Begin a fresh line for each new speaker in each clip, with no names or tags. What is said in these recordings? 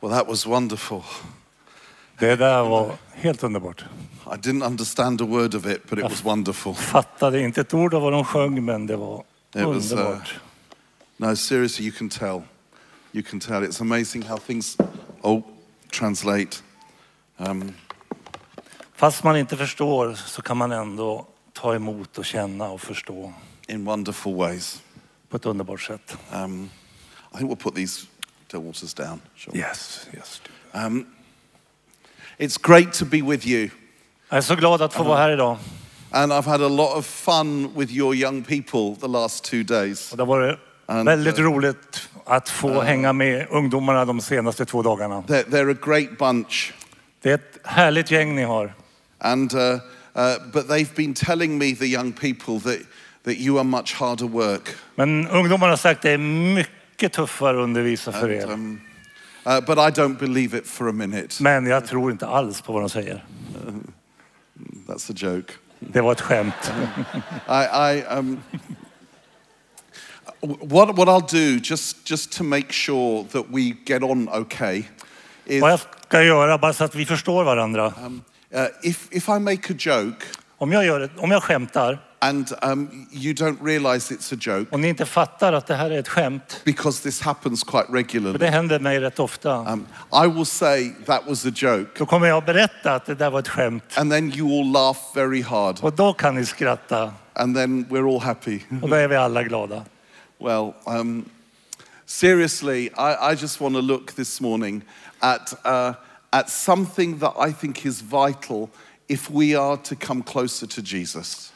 Well, that was wonderful.
Det där var helt underbart.
I didn't understand a word of it, but it was wonderful.
Fattade inte ett ord av vad de sjöng, men det var
Det var så-
underbart.
No, seriously, you can tell. You can tell. It's amazing how things, oh, translate. Um,
Fast man inte förstår så kan man ändå ta emot och känna och förstå
in wonderful ways.
på ett underbart sätt.
Um, I think we'll put these waters down. Shall we?
Yes, yes.
Um, it's great to be with you.
Jag är så glad att få vara här idag.
And I've had a lot of fun with your young people the last two days.
Och det har varit
And,
väldigt
uh,
roligt att få hänga med ungdomarna de senaste två dagarna.
They're, they're a great bunch.
Det är ett härligt gäng ni har.
And, uh, uh, but they've been telling me, the young people, that, that you are much harder work.
Men ungdomarna har sagt att det är mycket tuffare att undervisa för
And,
er.
um, uh, but I don't believe it for a minute.
Men jag tror inte alls på vad de säger.
That's a joke.
Det var ett skämt.
I, I, um, what, what I'll do, just, just to make sure that we get on okay, is
Vad jag ska göra, bara så att vi förstår varandra.
um, uh, if, if I make a joke
Om jag, gör ett, om jag skämtar
and um, you don't realize it's a joke,
och ni inte fattar att det här är ett skämt,
because this happens quite
för det
regularly,
händer mig rätt ofta,
um, I will say that was a joke.
då kommer jag att berätta att det där var ett skämt.
And then you all laugh very hard,
Och då kan ni skratta
and then we're all happy.
och då är vi alla glada.
Well, um, seriously, I, I just want to look this morning at, uh, at something that I think is vital if we are to come closer to Jesus.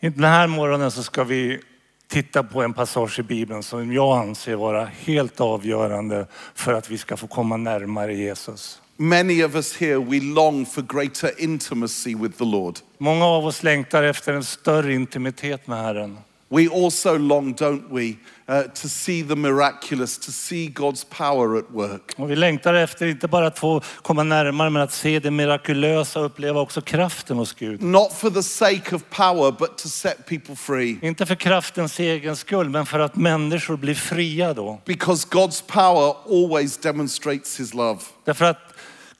Den här morgonen så ska vi titta på en passage i Bibeln som jag anser vara helt avgörande för att vi ska få komma närmare Jesus.
Many of us here, we long for greater intimacy with the Lord.
Många av oss längtar efter en större intimitet med Herren.
We also long, don't we, uh, to see the miraculous, to see God's power at work.
Och vi längtar efter inte bara att få komma närmare men att se det mirakulösa och uppleva också kraften hos Gud.
Not for the sake of power, but to set people free.
Inte för kraftens egen skull men för att människor blir fria då.
Because God's power always demonstrates his love.
Därför att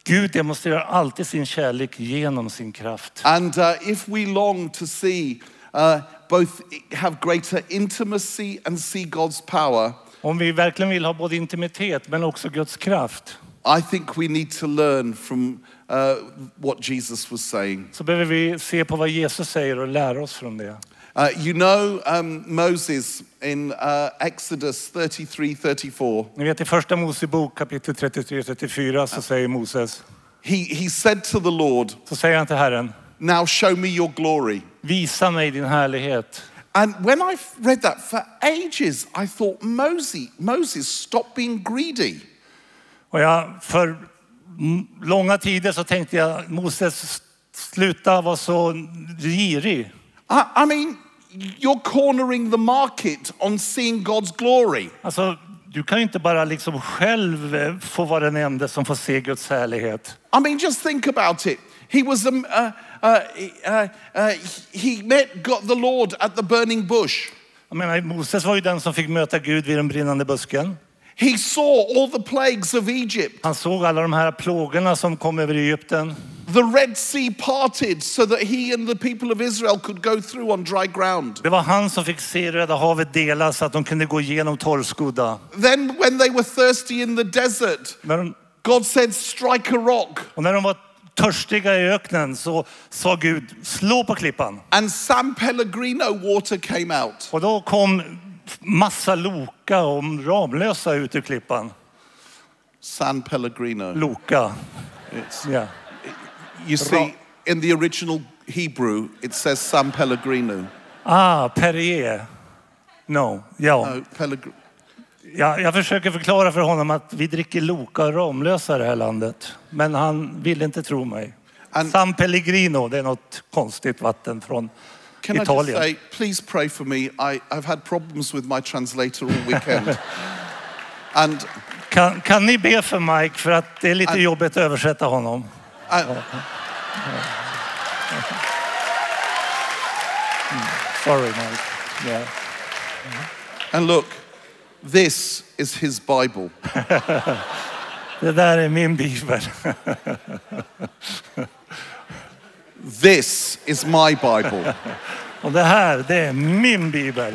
Gud demonstrerar alltid sin kärlek genom sin kraft.
And uh, if we long to see uh, both have greater intimacy and see God's power,
Om vi verkligen vill ha både intimitet men också Guds kraft
I think we need to learn from uh, what Jesus was saying.
så behöver vi se på vad Jesus säger och lära oss från det.
Uh, you know, um, Moses in uh, Exodus 33 34,
Ni vet i första Mosebok kapitel 33-34 så säger Moses,
he, he said to the Lord,
så säger han till Herren,
Now show me your glory.
visa mig din härlighet.
And when I read that for ages, I thought, Moses, Moses, stop being greedy.
Och jag, för m- långa tider så tänkte jag, Moses s- sluta vara så girig.
I, I mean, you're cornering the market on seeing God's glory.
Alltså, du kan ju inte bara liksom själv eh, få vara den enda som får se Guds härlighet.
I mean, just think about it. He was um, uh, uh, uh, uh, he met got the Lord at the burning bush.
Jag menar, Moses var ju den som fick möta Gud vid den brinnande busken.
He saw all the plagues of Egypt.
Han såg alla de här plågorna som kom över Egypten.
The Red Sea parted so that he and the people of Israel could go through on dry ground.
Det var han som fick se Röda havet delas så att de kunde gå igenom torrskodda.
Then, when they were thirsty in the desert,
När de,
God said, "Strike a rock."
och när de var törstiga i öknen så sa Gud, slå på klippan.
And San Pellegrino water came out.
Och då kom massa Loka och Ramlösa ut ur klippan.
San Pellegrino.
Loka.
It's-
Ja.
You see, in the original Hebrew, it says San Pellegrino.
Ah, Perrier. No. Ja.
No, Pellegr-
Jag, jag försöker förklara för honom att vi dricker Loka och Ramlösa i det här landet. Men han ville inte tro mig.
And-
San Pellegrino, det är något konstigt vatten från
Can I just
Italien.
say, please pray for me. I, I've had problems with my translator all weekend. and,
Kan, kan ni be för Mike för att det är lite jobbigt att översätta honom?
and
Sorry Mike. Ja.
and look, this is his Bible.
Det där är min bibel.
This is my Bible.
Och det här, det är min bibel.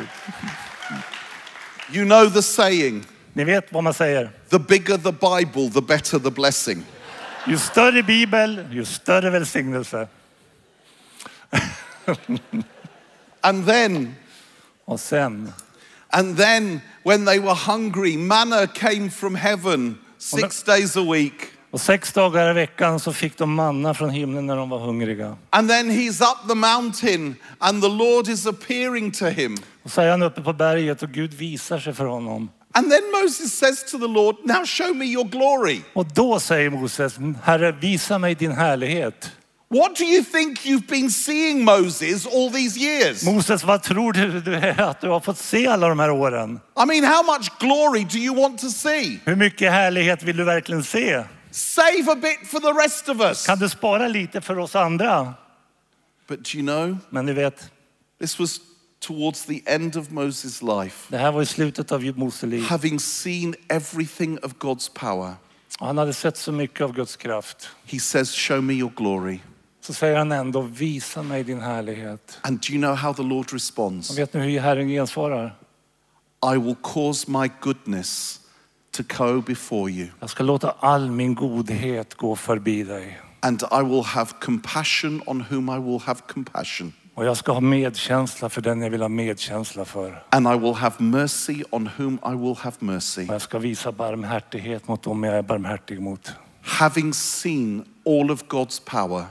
You know the saying
Ni vet vad man säger.
the bigger the Bible, the better the blessing.
Ju större bibel, ju större välsignelse.
And then,
Och sen,
and then when they were hungry, manna came from heaven six days a week.
och sex dagar i veckan så fick de manna från himlen när de var hungriga.
And then he's up the mountain and the Lord is appearing to him.
Och så är han uppe på berget och Gud visar sig för honom.
And then Moses says to the Lord, Now show me your glory.
Och då säger Moses, Herre visa mig din härlighet.
What do you think you've been seeing, Moses, all these years?
Moses, vad tror du du är att du har fått se alla de här åren?
I mean, how much glory do you want to see?
Hur mycket härlighet vill du verkligen se?
Save a bit for the rest of us.
Kan du spara lite för oss andra?
But do you know,
Men ni vet,
this was towards the end of Moses' life.
det här var i slutet av Mose liv.
Having seen everything of God's power,
Och Han hade sett så mycket av Guds kraft.
he says, Show me your glory.
Så säger han ändå, visa mig din härlighet.
And do you know how the Lord
Och
responds?
vet ni hur Herren gensvarar?
I will cause my goodness to go before you,
Jag ska låta all min godhet gå förbi dig.
and I will have compassion on whom I will have compassion,
Och jag ska ha medkänsla för den jag vill ha medkänsla för.
and I will have mercy on whom I will have mercy.
Och jag ska visa barmhärtighet mot dem jag är barmhärtig mot.
Having seen all of God's power,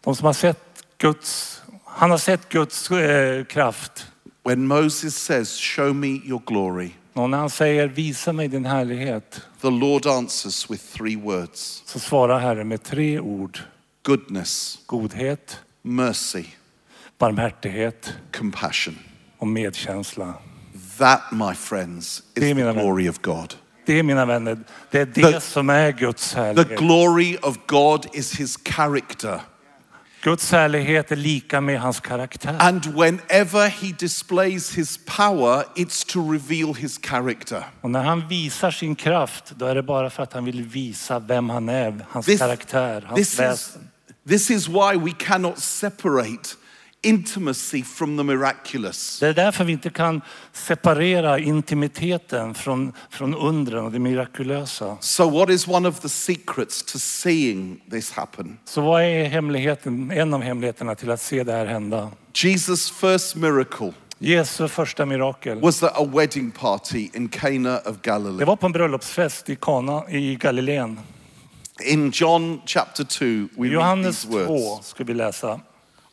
De som har sett Guds, han har sett Guds eh, kraft.
when Moses says, Show me your glory,
Och när han säger visa mig din härlighet
the Lord answers with three words
så svarar Herren med tre ord.
goodness,
Godhet,
mercy,
barmhärtighet
compassion.
och medkänsla.
That, my friends, is the
Dear beloved.
glory of God.
Det är mina vänner, det är det
The-
som är Guds
The
härlighet.
glory of God is his character.
Guds härlighet är lika med hans karaktär.
And whenever he displays his power, it's to reveal his character.
Och när han visar sin kraft, då är det bara för att han vill visa vem han är, hans
This-
karaktär, hans
This is,
väsen.
this is why we cannot separate intimacy from the miraculous.
Det är därför vi inte kan separera intimiteten från, från undren och det mirakulösa.
So, what is one of the secrets to seeing this happen?
Så vad är hemligheten, en av hemligheterna till att se det här hända?
Jesus' first miracle
Jesu första mirakel.
was at a wedding party in Cana of
Det
Galilee.
var på en bröllopsfest i Kana i Galileen.
In John chapter 2, we read
Johannes
these words.
2 ska vi läsa.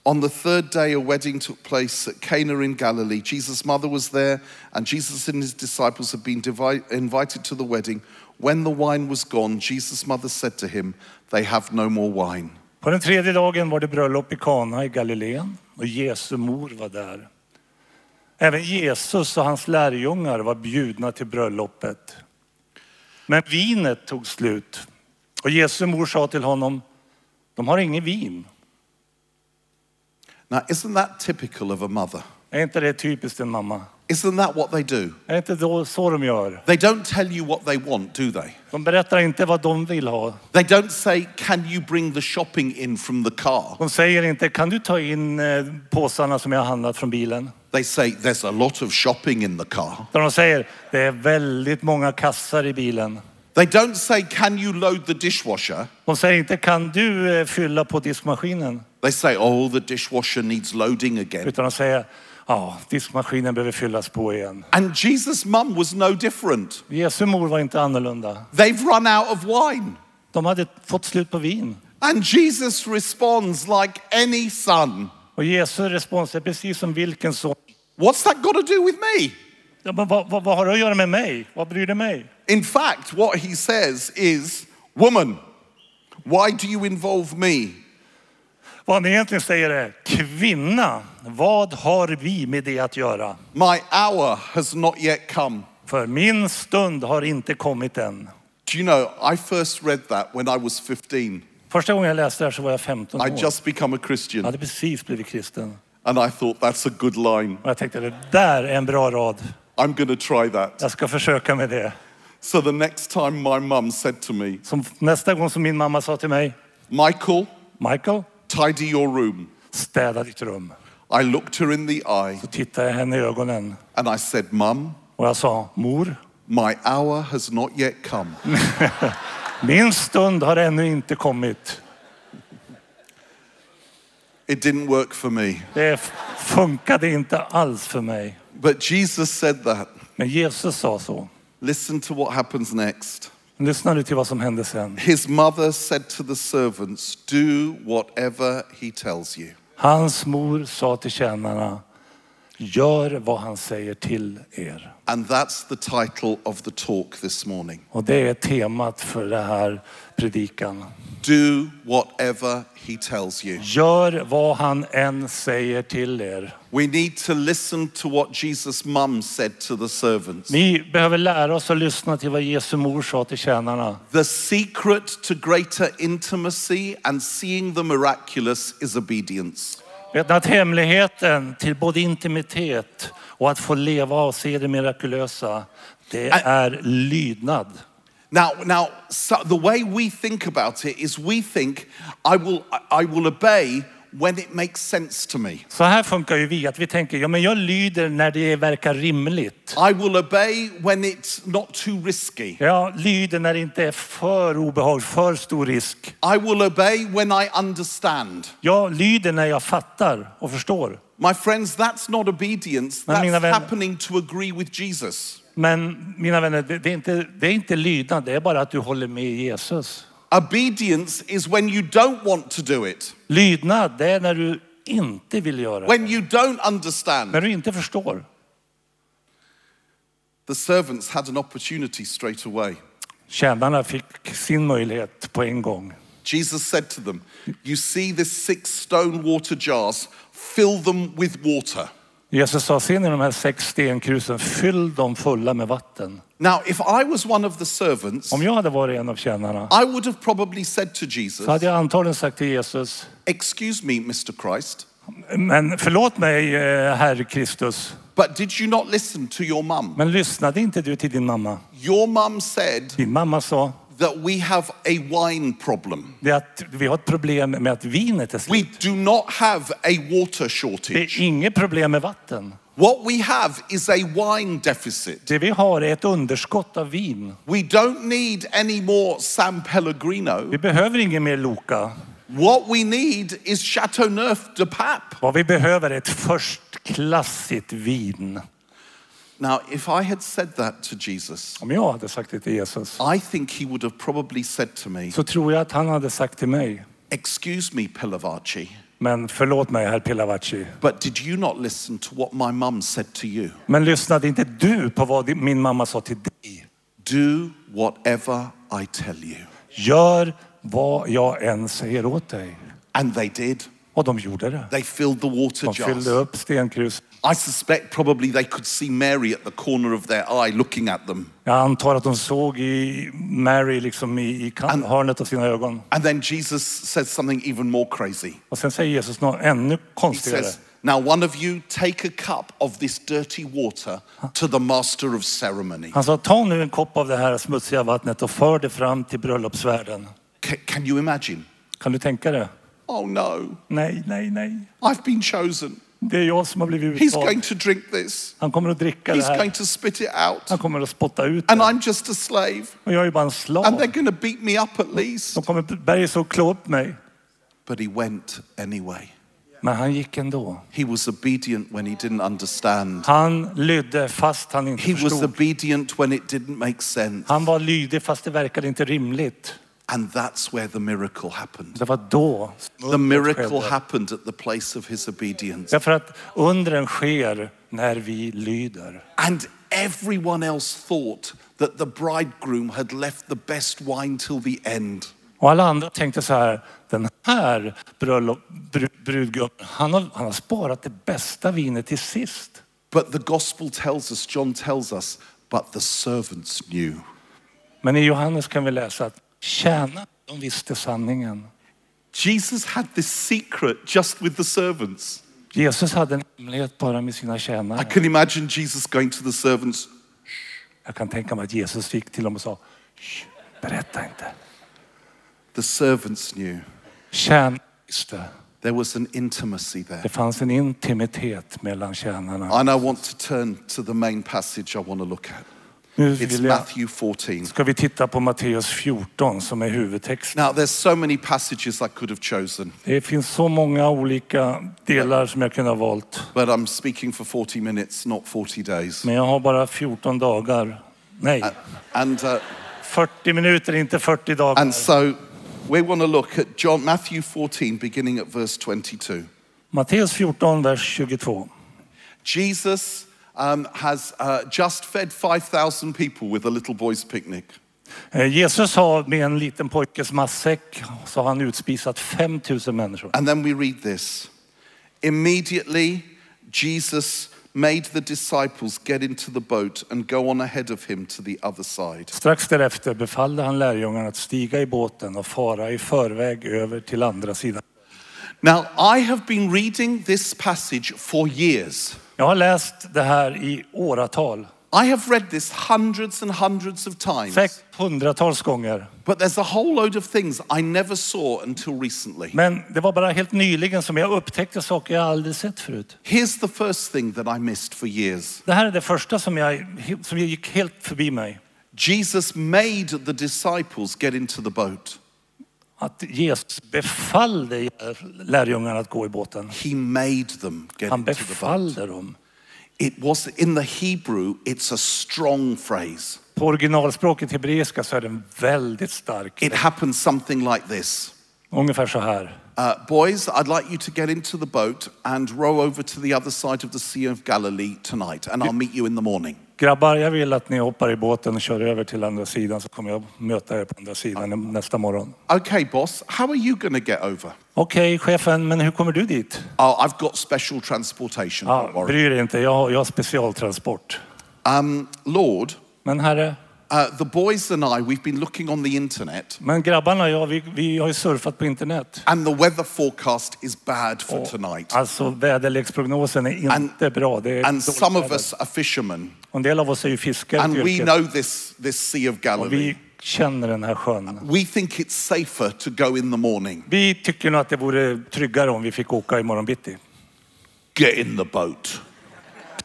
On the third day, a wedding took place at Cana in Galilee. Jesus' mother was there, and Jesus and his disciples had been divi- invited to the wedding. When the wine was gone, Jesus' mother said to him, They have no more wine.
På den tredje dagen var det bröllop i Kana i Galileen och Jesu mor var där. Även Jesus och hans lärjungar var bjudna till bröllopet. Men vinet tog slut och Jesu mor sa till honom, de har ingen vin.
Now, isn't that typical of a mother?
Är inte det typiskt en mamma?
Isn't that what they do?
Är inte då så de gör?
They don't tell you what they want, do they?
De berättar inte vad de vill ha.
They don't say, Can you bring the shopping in from the car?
De säger inte, kan du ta in eh, påsarna som jag har handlat från bilen?
They say, There's a lot of shopping in the car.
Utan de säger, det är väldigt många kassar i bilen.
They don't say, Can you load the dishwasher?
De säger inte, kan du eh, fylla på diskmaskinen?
They say, Oh, the dishwasher needs loading again.
Utan de säger, ja, diskmaskinen behöver fyllas på igen.
And Jesus' mum was no different.
Jesu mor var inte annorlunda.
They've run out of wine.
De hade fått slut på vin.
And Jesus responds like any son.
Och Jesu respons är precis som vilken son.
What's that got to do with me?
Ja, men vad, vad, vad har det att göra med mig? Vad bryr det mig?
In fact, what he says is, Woman, why do you involve me?
Vad han egentligen säger är, kvinna, vad har vi med det att göra?
My hour has not yet come.
För min stund har inte kommit än.
Do you know, I first read that when I was 15.
Första gången jag läste det här så var jag 15 år.
I'd just become a Christian.
Jag hade precis blivit kristen.
And I thought, That's a good line.
Och jag tänkte, det där är en bra rad.
I'm going to try that.
Jag ska försöka med det.
So the next time my mum said to me,
Som nästa gång som min mamma sa till mig,
Michael,
Michael,
tidy your room,
städa ditt rum.
I looked her in the eye
Då tittade jag henne i ögonen
and I said, Mum,
och jag sa, mor,
my hour has not yet come.
min stund har ännu inte kommit.
It didn't work for me.
Det f- funkade inte alls för mig.
But Jesus said that.
Men Jesus sa så.
Listen to what happens next.
Lyssna nu till vad som hände sen.
His mother said to the servants, Do whatever he tells you.
Hans mor sa till tjänarna, gör vad han säger till er.
And that's the title of the talk this morning.
Och det är temat för den här predikan.
Do whatever he tells you.
Gör vad han än säger till er.
We need to listen to what Jesus' mum said to the servants.
Vi behöver lära oss att lyssna till vad Jesu mor sa till tjänarna.
The secret to greater intimacy and seeing the miraculous is obedience.
Vet ni att hemligheten till både intimitet och att få leva och se det mirakulösa, det är lydnad.
Now, now so the way we think about it is we think, I will, I will obey when it makes sense to me.
Så här funkar ju vi, att vi tänker, ja men jag lyder när det verkar rimligt.
I will obey when it's not too risky.
Jag lyder när det inte är för obehag, för stor risk.
I will obey when I understand.
Jag lyder när jag fattar och förstår.
My friends, that's not obedience.
Men
That's
mina vänner-
happening to agree with Jesus.
Men mina vänner, det, det, är inte, det är inte lydnad, det är bara att du håller med Jesus.
Obedience is when you don't want to do it,
Lydnad, det är när du inte vill göra det.
when you don't understand.
När du inte förstår.
The servants had an opportunity straight away.
Tjänarna fick sin möjlighet på en gång.
Jesus said to them, You see this six stone water jars, fill them with water.
Jesus sa, ser ni de här sex stenkrusen? Fyll dem fulla med vatten.
Now, if I was one of the servants,
Om jag hade varit en av tjänarna
I would have probably said to
så hade
Jesus,
jag antagligen sagt till Jesus,
Excuse me, Mr. Christ,
men förlåt mig, eh, herr Kristus,
but did you not listen to your mum?
men lyssnade inte du till din mamma?
Your mum said
Din mamma sa
that we have a wine problem.
det att vi har ett problem med att vinet är
We
slut.
do not have a water
Det är
shortage.
inget problem med vatten.
What we have is a wine deficit.
Det vi har är ett underskott av vin.
We don't need any more San Pellegrino.
Vi behöver ingen mer Loka.
What we need is Chateau Neuf de Pape.
Vad vi behöver är ett förstklassigt vin.
Now, if I had said that to Jesus,
Om jag hade sagt det till Jesus
I think he would have probably said to me,
så tror jag att han hade sagt till mig,
Excuse me, Pilavachi,
men förlåt mig herr Pilavacci,
but did you not listen to what my mum said to you?
men lyssnade inte du på vad din- min mamma sa till dig?
Do whatever I tell you.
Gör vad jag än säger åt dig.
And they did.
Och de gjorde det.
They filled the water
De fyllde
jars.
upp stenkrus.
I suspect probably they could see Mary at the corner of their eye looking at them.
Jag antar att de såg i Mary liksom i, i kan- hörnet av sina ögon.
And then Jesus says something even more crazy.
Och sen säger Jesus något ännu
He
konstigare.
says, Now, one of you take a cup of this dirty water to the master of ceremony.
Han sa, ta nu en kopp av det här smutsiga vattnet och för det fram till bröllopsvärden.
C- can you imagine?
Kan du tänka det?
Oh no,
Nej, nej, nej.
I've been chosen.
Det är jag som har blivit
He's
utvald.
going to drink this,
Han kommer att dricka det
he's
här.
going to spit it out.
Han kommer att spotta ut
And
det.
I'm just a slave,
Och jag är ju bara en
and
slav.
they're going to beat me up at least.
De kommer bergs och klå upp mig.
But he went anyway.
Men han gick ändå.
He was obedient when he didn't understand,
Han lydde fast han inte
he was
förstod.
obedient when it didn't make sense.
Han var lydig fast det verkade inte rimligt.
And that's where the miracle happened.
Det var då.
The miracle happened at the place of his obedience.
Därför att undren sker när vi lyder.
And everyone else thought that the bridegroom had left the best wine till the end.
Och alla andra tänkte så här, den här bröllop, bru, brudgummen, han har, han har sparat det bästa vinet till sist.
But the gospel tells us, John tells us, but the servants knew.
Men i Johannes kan vi läsa att tjänarna, de visste sanningen.
Jesus had this secret just with the servants.
Jesus hade en hemlighet bara med sina
I
tjänare.
can imagine Jesus going to the servants,
Jag kan tänka mig att Jesus gick till dem och sa, "Shh, berätta inte.
The servants knew
Tjänarna visste.
there was an intimacy there.
Det fanns en intimitet mellan tjänarna.
And I want to turn to the main passage I want to look at.
Nu
It's
vill jag,
Matthew 14.
ska vi titta på Matteus 14 som är huvudtexten.
Now, there's so many passages I could have chosen,
Det finns så många olika delar som jag kunde ha valt.
but I'm speaking for 40 minutes, not 40 days.
Men jag har bara 14 dagar. Nej,
And, uh,
40 minuter, inte 40 dagar.
and so we want to look at John, Matthew 14, beginning at verse 22.
Matteus 14, vers 22.
Jesus um, has uh, just fed 5,000 people with a little boy's picnic.
Eh, Jesus har med en liten pojkes matsäck så har han utspisat 5 000 människor.
And then we read this Immediately, Jesus made the disciples get into the boat and go on ahead of him to the other side.
Strax därefter befallde han lärjungarna att stiga i båten och fara i förväg över till andra sidan.
Now, I have been reading this passage for years.
Jag har läst det här i åratal,
I have read this hundreds and hundreds of times,
säkert hundratals gånger.
but there's a whole load of things I never saw until recently.
Men det var bara helt nyligen som jag upptäckte saker jag aldrig sett förut.
Here's the first thing that I missed for years
Det här är det första som, jag, som gick helt förbi mig.
Jesus made the disciples get into the boat,
Att Jesus befallde lärjungarna att gå i båten.
He made them get
Han
into the boat.
befallde dem.
It was in the Hebrew, it's a strong phrase.
På originalspråket hebreiska så är den väldigt stark.
It happens something like this.
Ungefär så här.
Uh, boys, I'd like you to get into the boat and row over to the other side of the Sea of Galilee tonight, and I'll meet you in the morning.
Grabbar, jag vill att ni hoppar i båten och kör över till andra sidan så kommer jag möta er på andra sidan nästa morgon.
Okay, boss, how are you going to get over?
Okej, chefen, men hur kommer du dit?
Oh, I've got special transportation, don't
Ja,
worry.
bry dig inte, jag har, jag har specialtransport.
Um, Lord,
Men herre,
uh, the boys and I, we've been looking on the internet,
men grabbarna och jag, vi, vi har ju surfat på internet.
and the weather forecast is bad for tonight.
Alltså väderleksprognosen är inte bra. Det är
And
dåligt
some of
väder.
us are fishermen,
Och En del av oss är ju fiskare till
and we
yrket.
know this, this Sea of
Och
Galilee.
Vi känner den här sjön.
We think it's safer to go in the morning.
Vi tycker nog att det vore tryggare om vi fick åka imorgon bitti.
Get in the boat.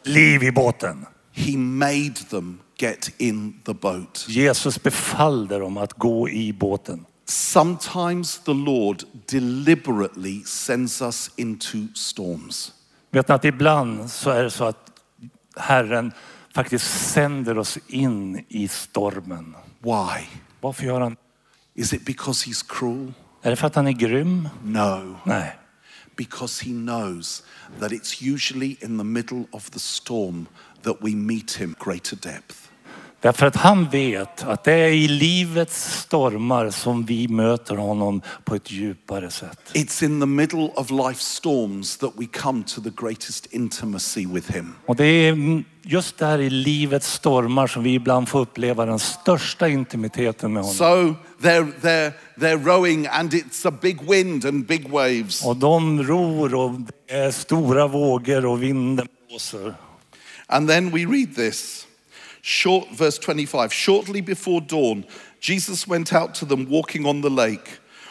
Liv i båten!
He made them get in the boat.
Jesus befallde dem att gå i båten.
Sometimes the Lord deliberately sends us into storms.
Vet ni att ibland så är det så att Herren faktiskt sänder oss in i stormen.
Why?
Varför gör han?
Is it because he's cruel?
Är det för att han är grym?
No,
Nej.
because he knows that it's usually in the middle of the storm that we meet him greater depth.
Därför att han vet att det är i livets stormar som vi möter honom på ett djupare sätt.
It's in the middle of life's storms that we come to the greatest intimacy with him.
Och det är mm, just där i livets stormar som vi ibland får uppleva den största intimiteten med honom.
So they're, they're, they're rowing, and it's a big wind and big waves.
Och de ror och det är stora vågor och vinden blåser.
And then we read this. Short, verse 25 Shortly before dawn, Jesus went out to them walking on the lake.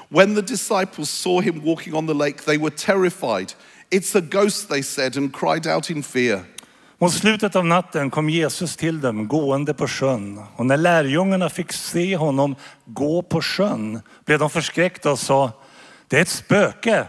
When the disciples saw him walking on the lake, they were terrified. It's a ghost, they said, and cried out in fear.
Mot slutet av natten kom Jesus till dem gående på sjön. Och när lärjungarna fick se honom gå på sjön blev de förskräckta och sa, det är ett spöke.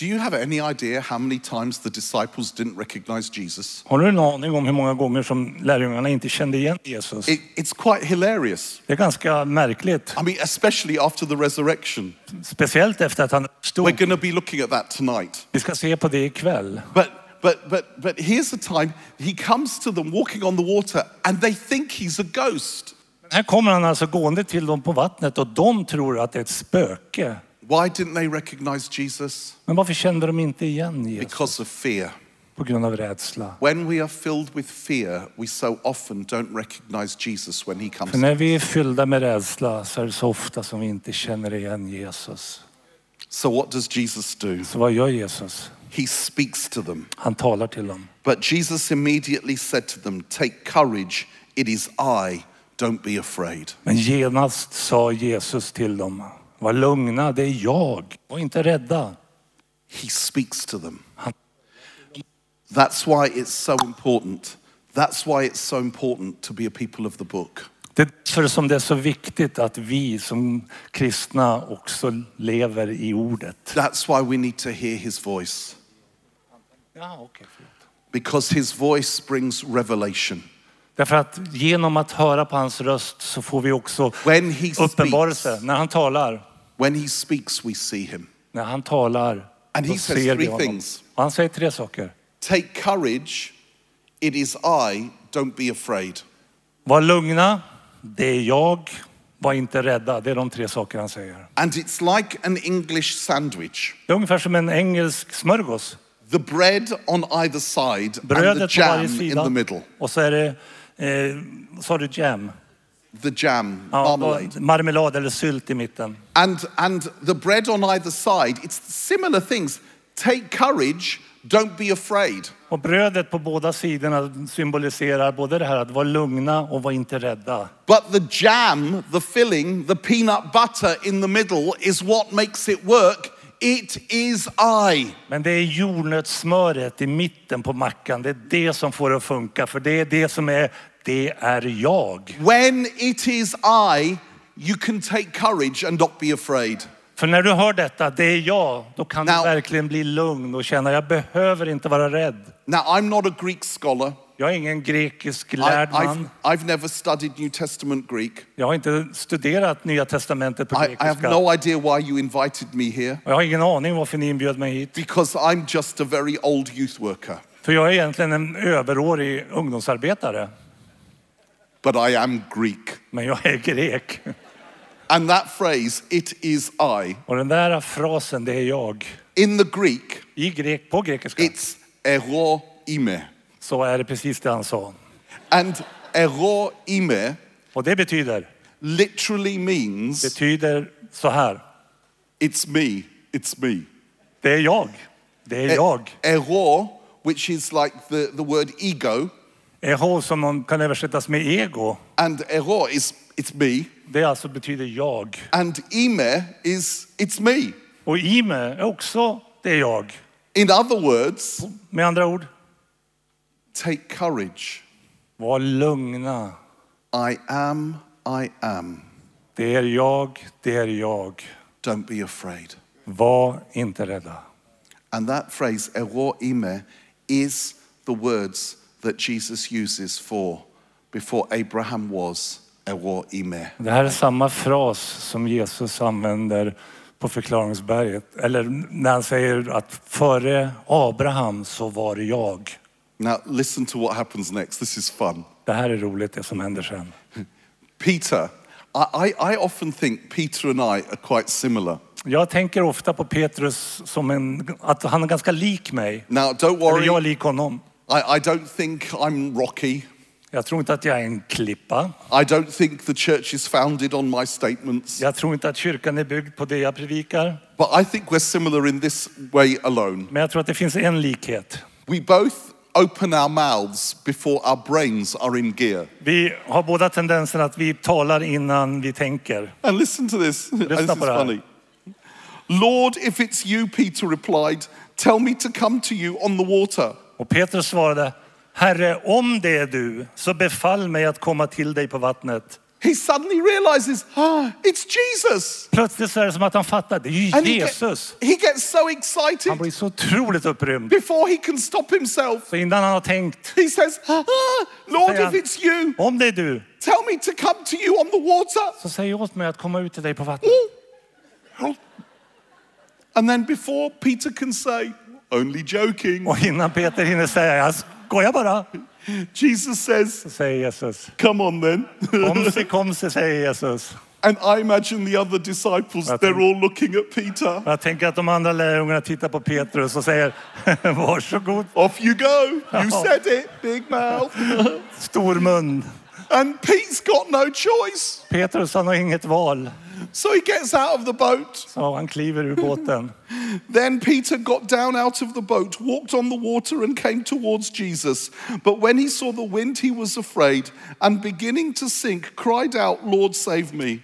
Do you have any idea how many times the disciples didn't recognize Jesus?
Har du en aning om hur många gånger som lärjungarna inte kände igen Jesus?
It, it's quite hilarious.
Det är ganska märkligt.
I mean, especially after the resurrection.
Speciellt efter att han
We're
stod.
going to be looking at that tonight.
Vi ska se på det ikväll.
But but but but here's the time he comes to them walking on the water, and they think he's a ghost.
Här kommer han alltså gående till dem på vattnet och de tror att det är ett spöke.
Why didn't they recognize Jesus?
Men varför kände de inte igen Jesus?
Because of fear.
På grund av rädsla.
When we are filled with fear, we so often don't recognize Jesus when he comes.
För när vi är fyllda med rädsla så är det så ofta som vi inte känner igen Jesus.
So, what does Jesus do?
Så vad gör Jesus?
He speaks to them.
Han talar till dem.
But Jesus immediately said to them, Take courage, it is I, don't be afraid.
Men genast sa Jesus till dem, var lugna, det är jag. Var inte rädda.
He speaks to them. That's why it's so important. That's why it's so important to be a people of the book.
Det är därför som det är så viktigt att vi som kristna också lever i ordet.
That's why we need to hear his voice,
Ja, okay, förlåt.
because his voice brings revelation.
Därför att genom att höra på hans röst så får vi också
When he
uppenbarelse.
speaks,
När han talar,
when he speaks, we see him.
när han talar,
And
då
he says
ser vi
three
honom.
things.
Och han säger tre saker.
Take courage, it is I, don't be afraid.
Var lugna, det är jag. Var inte rädda, det är de tre saker han säger.
And it's like an English sandwich.
Det är ungefär som en engelsk smörgås.
The bread on either side and the
Brödet på varje
jam in
sida
the middle.
och så är det, eh, sa du jam?
The jam,
Ja, då-
marmalade.
marmelad eller sylt i mitten.
And, and the bread on either side, it's similar things. Take courage, don't be afraid.
Och brödet på båda sidorna symboliserar både det här att vara lugna och vara inte rädda.
But the jam, the filling, the peanut butter in the middle is what makes it work. It is I.
Men det är jordnötssmöret i mitten på mackan, det är det som får det att funka. För det är det som är, det är jag.
When it is I, you can take courage and not be afraid.
För när du hör detta, det är jag, då kan
Now-
du verkligen bli lugn och känna, jag behöver inte vara rädd.
Now, I'm not a Greek scholar.
Jag är ingen grekisk
I,
lärd man.
I've, I've never studied New Testament Greek.
Jag har inte studerat Nya Testamentet på
I, I have
grekiska.
no idea why you invited me here
Och Jag har ingen aning varför ni inbjöd mig hit.
because I'm just a very old youth worker,
För jag är egentligen en överårig ungdomsarbetare.
but I am Greek.
Men jag är grek.
And that phrase, it is I,
Och den där frasen, det är jag.
in the Greek,
I grek, på grekiska,
it's ero ime.
så är det precis det han sa.
And ero ime
Och det betyder,
literally means
betyder så här.
it's me, it's me.
Det är jag. Det
Eh.
är jag.
Ero, which is like the, the word ego,
Eho som man kan översättas med ego.
and ero is it's me,
Det alltså betyder jag.
and ime is it's me.
Och ime är också det är jag.
In other words,
Med andra ord,
take courage.
var lugna.
I am, I am.
Det är jag, det är jag.
Don't be afraid.
Var inte rädda.
And that phrase, ero ime, is the words that Jesus uses for before Abraham was ero ime.
Det här är samma fras som Jesus använder på förklaringsberget. Eller när han säger att före Abraham så var jag.
Now, listen to what happens next. This is fun.
Det här är roligt det som händer sen.
Peter, I, I, I often think Peter and I are quite similar.
Jag tänker ofta på Petrus som en, att han är ganska lik mig.
Now, don't
Eller
worry,
jag är
I,
lik honom.
I don't think I'm rocky.
Jag tror inte att jag är en klippa.
I don't think the church is founded on my statements.
Jag tror inte att kyrkan är byggd på det jag predikar.
But I think we're similar in this way alone.
Men jag tror att det finns en likhet.
We both open our mouths before our brains are in gear.
Vi har båda tendensen att vi talar innan vi tänker.
And listen to this. this is
up at her.
funny. Lord, if it's you, Peter replied, tell me to come to you on the water.
Och Petrus svarade, Herre, om det är du, så befall mig att komma till dig på vattnet.
He suddenly realizes, ah, it's Jesus.
Plötsligt så är det som att han fattar, det är
And
ju
he, get-
Jesus.
he gets so
Han
excited
blir så otroligt upprymd.
before he can stop himself.
Så innan han har tänkt,
He says, ah, Lord,
Säger
if
han.
it's you,
om det är du,
tell me to come to you on the water.
så säg åt mig att komma ut till dig på vattnet.
And then before Peter can say, only joking,
Och innan Peter hinner säga, jag skojar bara,
Jesus says,
så säger Jesus.
come on then.
Kom sig, kom sig, säger Jesus.
and I imagine the other disciples,
I think-
they're all looking at Peter.
Jag tänker att de andra lärjungarna tittar på Petrus och säger, varsågod,
Off you go. You
Oh.
said it, big mouth.
stor mun.
and Pete's got no choice.
Petrus, han har inget val.
So he gets out of the boat.
Så han kliver ur båten.
Then Peter got down out of the boat, walked on the water, and came towards Jesus. But when he saw the wind, he was afraid, and beginning to sink, cried out, Lord, save me.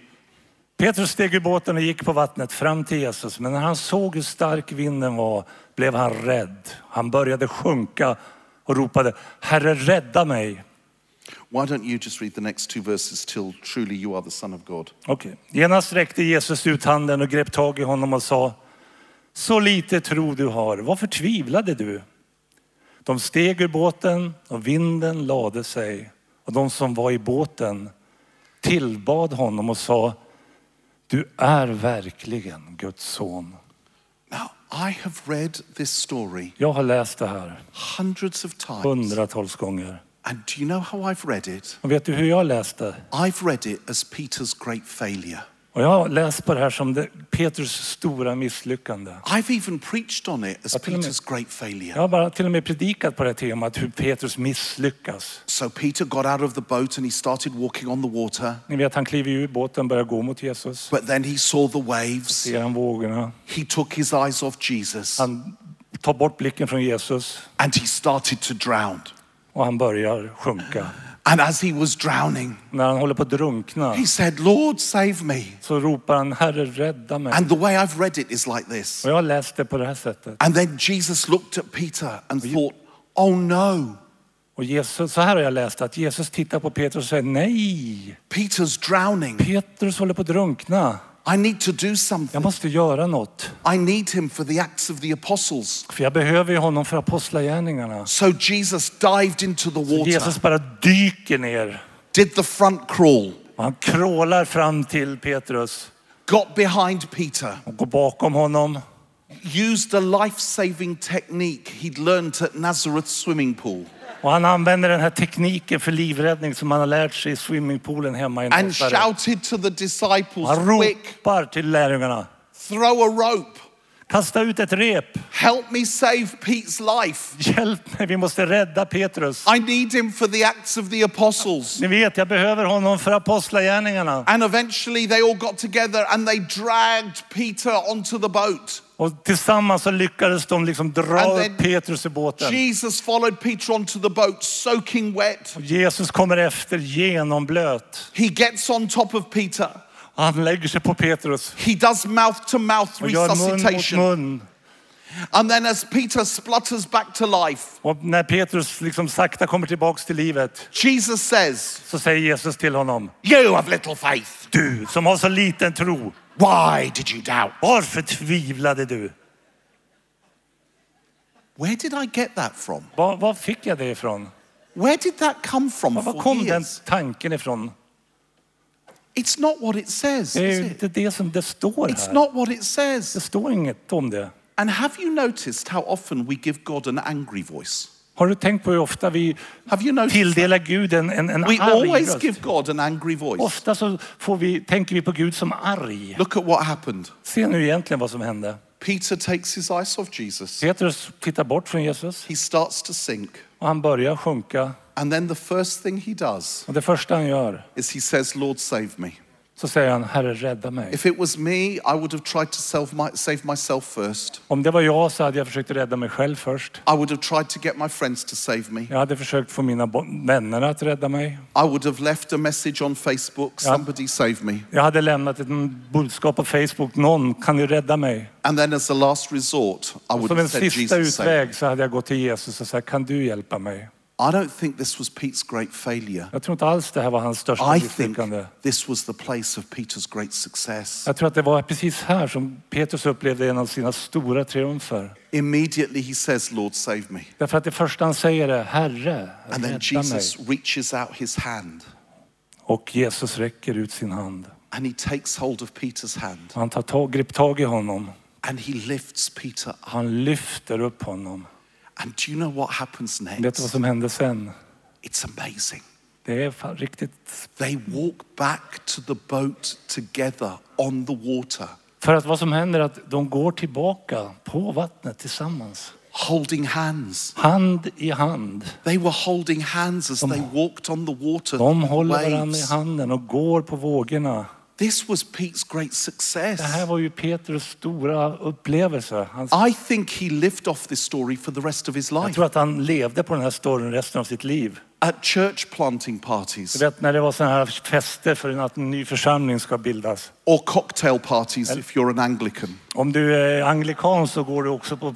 Petrus steg ur båten och gick på vattnet fram till Jesus. Men när han såg hur stark vinden var blev han rädd. Han började sjunka och ropade, Herre rädda mig.
Why don't you just read the next two verses till truly you are the Son of God?
Okej. Genast räckte Jesus ut handen och grep tag i honom och sa, så lite tro du har, varför tvivlade du? De steg ur båten och vinden lade sig och de som var i båten tillbad honom och sa, du är verkligen Guds son.
Now, I have read this story
Jag har läst det här
hundreds of times.
hundratals gånger.
And do you know how I've read it?
Och vet du hur jag läste?
I've read it as Peter's great failure.
Och jag har läst på det här som det, Petrus stora misslyckande.
I've even preached on it as
I tell 'em
Peter's great
Jag
failure.
har bara till och med predikat på det här temat, hur Petrus misslyckas.
So Peter got out of the boat and he started walking on the water.
Ni vet, han kliver ur båten, börjar gå mot Jesus.
But then he saw the waves.
Ser han vågorna.
He took his eyes off Jesus
Han tar bort blicken från Jesus
and he started to drown.
och han börjar sjunka.
And as he was drowning,
När han håller på att drunkna
he said, Lord, save me.
så ropar han, Herre rädda mig.
And the way I've read it is like this.
Och jag har läst det på det här sättet.
And then Jesus looked at Peter and thought, Oh no,
Och Jesus, så här har jag läst att Jesus tittar på Petrus och säger, nej,
Peter's drowning.
Petrus håller på att drunkna.
I need to do
Jag
something.
måste göra något.
I need him for the acts of the apostles.
För jag behöver ju honom för apostlagärningarna.
So Jesus dived into the water,
Jesus bara dyker ner.
did the front crawl,
Och han krålar fram till Petrus
got behind Peter,
och går bakom honom.
used a life saving technique he'd learned at Nazareth swimming pool,
Och han använder den här tekniken för livräddning som han har lärt sig i swimmingpoolen hemma i
and
Nasaret.
shouted to the disciples,
Han
Quick,
ropar till lärjungarna.
throw a rope,
Kasta ut ett rep.
help me save Pete's life.
Hjälp mig, vi måste rädda Petrus.
I need him for the acts of the apostles.
Ni vet, jag behöver honom för apostlagärningarna.
And eventually they all got together and they dragged Peter onto the boat.
Och tillsammans så lyckades de liksom dra
And
upp
then
Petrus i båten.
Jesus followed Peter onto the boat, soaking wet.
Jesus kommer efter genomblöt.
He gets on top of Peter.
Han lägger sig på Petrus
He does mouth to mouth
och gör mun mot
resuscitation.
mun.
And then, as Peter splutters back to life,
Och när Petrus liksom sakta kommer tillbaks till livet
Jesus says,
så säger Jesus till honom.
You have little faith.
Du som har så liten tro.
Why did you doubt?
Varför tvivlade du?
Where did I get that from?
Var, var fick jag det ifrån?
Where did that come from?
Var, var
for
kom den
years?
tanken ifrån?
It's not what it says,
Det är
is
ju
it?
inte det som det står
It's
här.
not what it
Det
says.
står inget om det.
And have you noticed how often we give God an angry voice?
Har du tänkt på hur ofta vi
Have you noticed?
tilldelar Gud en, en, en
We
arg
always
röst?
give God an angry voice.
Ofta så får vi, tänker vi på Gud som arg.
Look at what happened.
Se nu egentligen vad som hände.
Peter takes his eyes off Jesus.
Petrus tittar bort från Jesus
He starts to sink.
och han börjar sjunka.
And then the first thing he does
Och det första han gör
is he says, Lord, save me.
så säger han, Herre rädda mig.
If it was me, I would have tried to self my, save myself first.
Om det var jag så hade jag försökt rädda mig själv först.
I would have tried to get my friends to save me.
Jag hade försökt få mina bo- vänner att rädda mig.
I would have left a message on Facebook,
Yeah.
somebody save me.
Jag hade lämnat ett budskap på Facebook. Någon kan ju rädda mig.
And then as a last resort, I would
Som en
have said,
sista
Jesus, save me.
utväg så hade jag gått till Jesus och sagt, kan du hjälpa mig?
I don't think this was Pete's great failure.
Jag tror inte alls det här var hans största
I think
misslyckande.
this was the Uh, place of Peter's great success.
Jag tror att det var precis här som Petrus upplevde en av sina stora triumfer.
Immediately he says, Lord, save me.
Därför att det första han säger är, Herre,
And then
rädda mig.
Jesus reaches out his hand
Och Jesus räcker ut sin hand.
and he takes hold of Peter's hand
Han tar tag, grip tag i honom.
and he lifts Peter up.
Han lyfter upp honom.
And do you know what happens
Vet du vad
next?
som hände sen?
It's amazing.
Det är fan riktigt
They walk back to the boat together on the water,
För att vad som händer är att de går tillbaka på vattnet tillsammans.
holding hands.
Hand i hand.
They were holding hands as they walked on the water.
De
through the
håller varandra i
waves.
handen och går på vågorna.
This was Pete's great success.
Det här var ju Petrus stora upplevelse. Han,
I think he lived off this story for the rest of his
jag
life
tror att han levde på den här storyn resten av sitt liv.
at church planting
Du
parties
vet när det var sådana här fester för att en ny församling ska bildas.
or cocktail parties if you're an Anglican.
Om du är anglikan så går du också på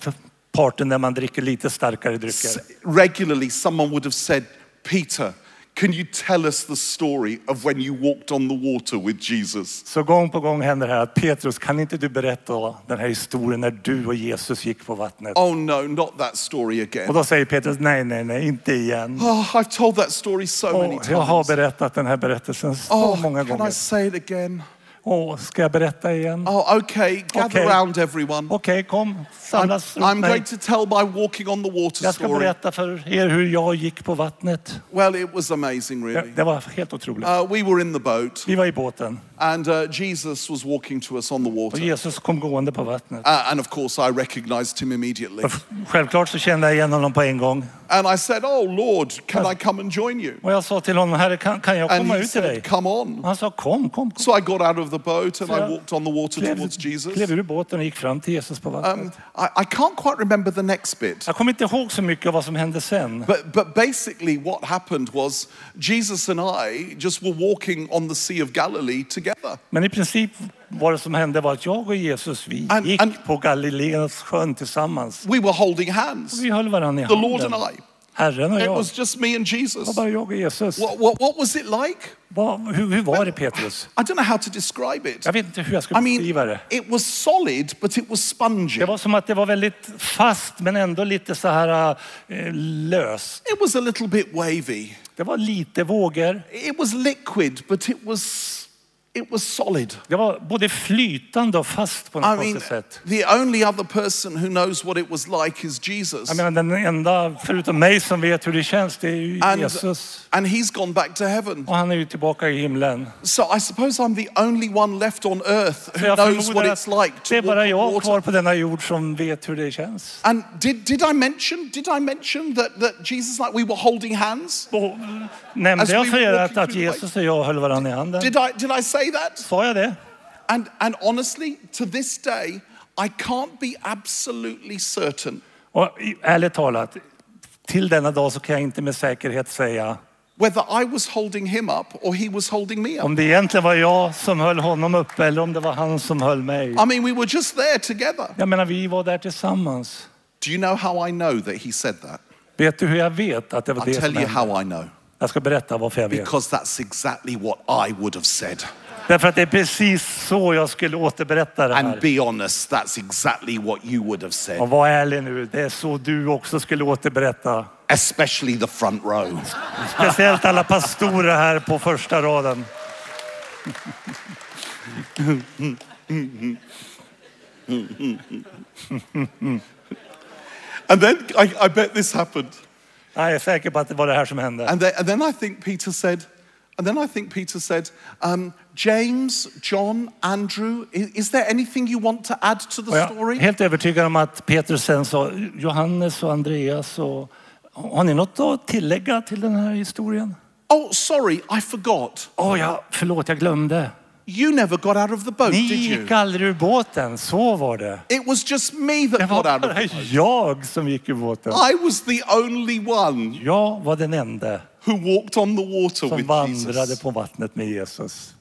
parten där man dricker lite starkare drycker.
S- Regularly, someone would have said, Peter, can you tell us the story of when you walked on the water with Jesus?
Så gång på gång händer det här att Petrus, kan inte du berätta den här historien när du och Jesus gick på vattnet?
Oh no, not that story
Och
again.
då säger Petrus, nej, nej, nej, inte igen.
Oh, I've told that story so many
Åh, jag har
times.
berättat den här berättelsen så många
Oh, can I
gånger.
say it again?
Åh, ska jag berätta igen?
Oh, okay, gather
Okay.
round everyone.
Okej, kom,
I'm,
samlas
I'm
runt mig.
going to tell my walking on the water
Jag ska
story.
berätta för er hur jag gick på vattnet.
Well, it was amazing,
Det,
really.
det var helt otroligt.
Uh, we were in the boat,
Vi var i båten
and uh, Jesus was walking to us on the
och
water.
Jesus kom gående på vattnet.
Uh, and of course, I recognized him immediately.
Självklart så kände jag igen honom på en gång.
And I said, Oh, Lord, can I come and join you?
Och jag sa till honom, herre kan, kan jag
And
komma
he
ut till dig?
said, Come on.
Och han sa, kom, kom, kom.
So I got out of the boat and I
Yeah.
walked on the water
Klev,
towards Jesus.
klev ur båten och gick fram till Jesus på vattnet.
Um, I, I can't quite remember the next bit.
jag kommer inte ihåg så mycket av vad som hände sen.
But, but basically, what happened was Jesus and I just were walking on the Sea of Galilee together.
Men i princip vad det som hände var att jag och Jesus, vi
And-
gick
and-
på Galileens sjön tillsammans.
We were holding hands,
Vi höll varandra i
the Lord
handen.
and I.
Herren och
It
jag.
was just me and
Det var
Jesus.
bara jag och Jesus.
What, what, what was it like?
Vad, hur, hur var det Petrus?
I don't know how to describe it.
Jag vet inte hur jag ska
I mean,
beskriva det.
it was solid, but it was spongy.
Det var som att det var väldigt fast men ändå lite så här eh, löst.
It was a little bit wavy.
Det var lite vågor.
It was liquid, but it was it was solid.
Det var både flytande och fast på något
I mean,
konstigt sätt.
the only other person who knows what it was like is Jesus.
Jag menar, den enda, förutom mig, som vet hur det känns, det är ju
and,
Jesus.
and he's gone back to heaven.
Och han är ju tillbaka i himlen.
So I suppose I'm the only one left on earth
Så
who
jag
knows what
förmodar
it's like
att
to
det är
walk
bara
on
jag
water.
kvar på denna jord som vet hur det känns.
And did, did I mention did I mention that, that Jesus like we were holding hands?
Och nämnde
As
jag
we
för er
were
att,
walking
att
through the
Jesus och jag höll varandra i handen?
Did I did I say that?
Sa jag det?
And, and honestly, to this day, I can't be absolutely certain
Och i- ärligt talat, till denna dag så kan jag inte med säkerhet säga
whether I was holding him up or he was holding me up.
om det egentligen var jag som höll honom uppe eller om det var han som höll mig.
I mean, we were just there together.
Jag menar, vi var där tillsammans.
Do you know how I know that he said that?
Vet du hur jag vet att det var
I'll
det som
tell you
hände?
how I know.
Jag ska berätta varför jag vet.
Because that's exactly what I would have said.
Därför att det är precis så jag skulle återberätta det
And
här.
be honest, that's exactly what you would have
Och
said,
var ärlig nu, det är så du också skulle återberätta.
especially the front row.
Speciellt alla pastorer här på första raden.
And then I, I bet this happened.
Jag är säker på att det var det här som hände.
And then, and then I think Peter said, and then I think Peter said, um, James, John, Andrew, is, is there anything you want to add to
Och
the
jag är
story?
helt övertygad om att Petrus sen sa, Johannes och Andreas och... Har ni något att tillägga till den här historien?
Oh, sorry, I forgot.
Åh, ja, förlåt, jag glömde.
You never got out of the boat,
Ni
did you?
gick aldrig ur båten, så var det.
It was just me that
Det var
got out of the
bara
boat.
jag som gick ur båten.
I was the only one
Jag var den enda
who walked on the water
som
with
vandrade
Jesus.
på vattnet med Jesus.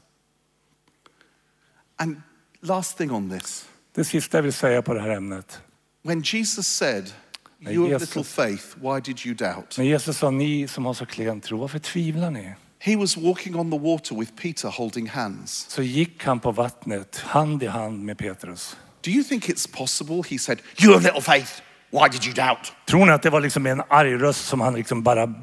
And last thing on this
Det sista jag vill säga på det här ämnet.
when Jesus said,
Now,
You have
yes,
little faith, why did you doubt?
När Jesus sa, ni som har så klen tro, varför tvivlar ni?
He was walking on the water with Peter holding hands.
Så gick han på vattnet, hand i hand med Petrus.
Do you think it's possible? He said, You have little faith. Why did you doubt?
Tror ni att det var liksom en arg röst som han liksom bara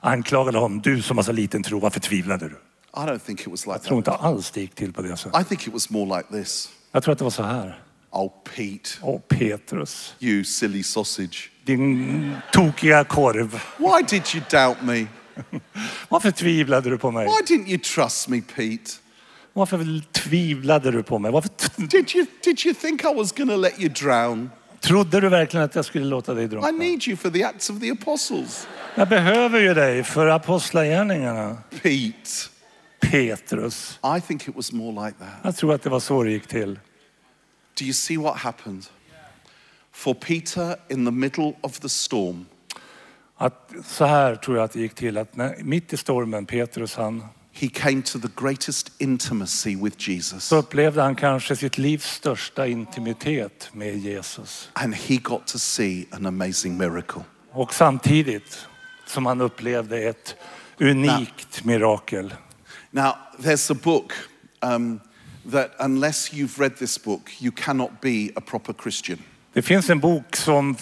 anklagade honom? Du som har så liten tro, varför tvivlade du?
I don't think it was like
Jag tror
that.
inte alls det gick till på det sättet.
I think it was more like this
Jag tror att det var så här.
Oh, Pete,
Åh Petrus,
you silly sausage.
din tokiga korv.
Why did you doubt me?
Varför tvivlade du på mig?
Why didn't you trust me, Pete?
Varför tvivlade du på mig? Varför t-
Did you, did you think I was going to let you drown?
trodde du verkligen att jag skulle låta dig
I
drunkna?
need you for the Acts of the Apostles.
Jag behöver ju dig för apostlagärningarna.
Pete,
Petrus.
I think it was more like that.
Jag tror att det var så det gick till.
Do you see what happened? For Peter, in the middle of the storm,
Att, så här tror jag att det gick till. Att när, mitt i stormen, Petrus han,
he came to the greatest intimacy with Jesus
så upplevde han kanske sitt livs största intimitet med Jesus.
and he got to see an amazing miracle.
Och samtidigt som han upplevde ett unikt mirakel.
Now, there's a book um, that, unless you've read this book, you cannot be a proper Christian.
Det finns en bok som,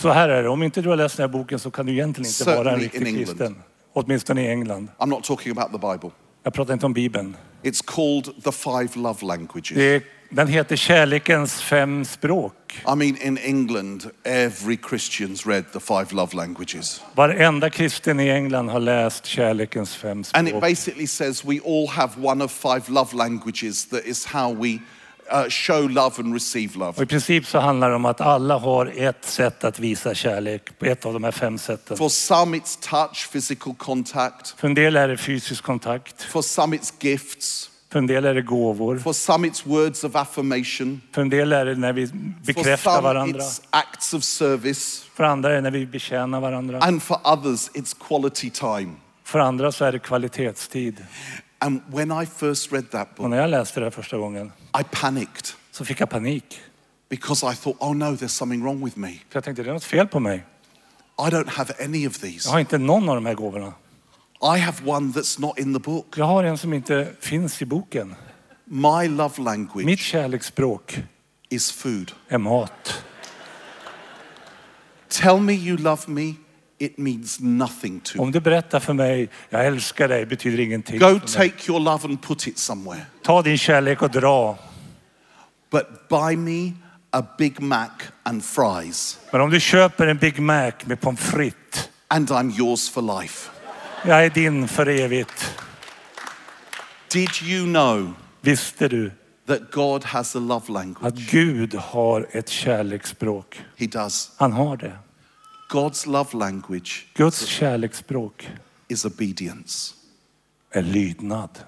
så här är det, om inte du har läst den här boken så kan du egentligen inte vara en
Certainly in
riktig
England.
kristen. Åtminstone i England.
I'm not talking about the Bible.
Jag pratar inte om Bibeln.
It's called The Five Love Languages.
Det är, den heter Kärlekens fem språk.
I mean, in England, every Christian's read The Five Love Languages.
Varenda kristen i England har läst Kärlekens fem
And it
språk.
basically says we all have one of five love languages that is how we uh, show love and receive love.
Och I princip så handlar det om att alla har ett sätt att visa kärlek, på ett av de här fem sätten.
For some, it's touch, physical contact.
För en del är det fysisk kontakt,
For some, it's gifts.
för en del är det gåvor,
For some, it's words of affirmation.
för en del är det när vi
For
bekräftar
some,
varandra,
it's acts of service.
för andra är det när vi betjänar varandra.
And for others, it's quality time.
För andra så är det kvalitetstid.
And when I first read that
Och
book,
när jag läste det här första gången
I panicked
så fick jag panik.
because I thought, oh no, there's something wrong with me.
För jag tänkte, det är något fel på mig.
I don't have any of these.
Jag har inte någon av de här gåvorna.
I have one that's not in the book.
Jag har en som inte finns i boken.
My love language
Mitt kärleksspråk
is food.
är mat.
Tell me you love me, it means nothing to me.
Om du berättar för mig, jag älskar dig, betyder ingenting.
Go
för mig.
take your love and put it somewhere.
Ta din kärlek och dra.
But buy me a Big Mac and fries,
Men om du köper en Big Mac med pommes frites,
and I'm yours for life.
jag är din för evigt.
Did you know
Visste du
that God has a love language?
att Gud har ett kärleksspråk?
He does.
Han har det.
God's love language
Guds kärleksspråk
is obedience.
är lydnad.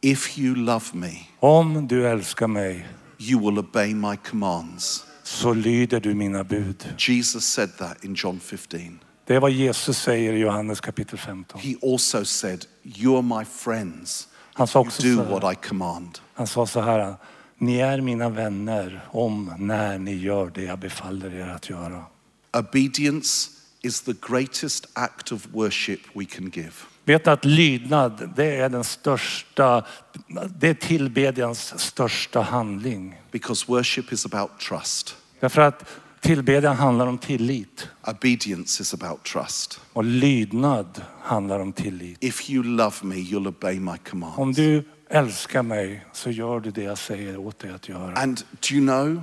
If you love me,
Om du älskar mig
you will obey my commands.
så lyder du mina bud.
Jesus said that in John 15.
Det är vad Jesus säger i Johannes kapitel 15.
He also said, You are my friends.
Han sa
You
också
do
så
what
här,
I command.
han sa så här. Ni är mina vänner om när ni gör det jag befaller er att göra.
Obedience is the greatest act of worship we can give.
Vet ni att lydnad, det är den största, det är tillbedjans största handling.
Because worship is about trust.
Därför att tillbedjan handlar om tillit
Obedience is about trust.
och lydnad handlar om tillit.
If you love me, you'll obey my command.
Om du älskar mig så gör du det jag säger åt dig att göra.
And do you know,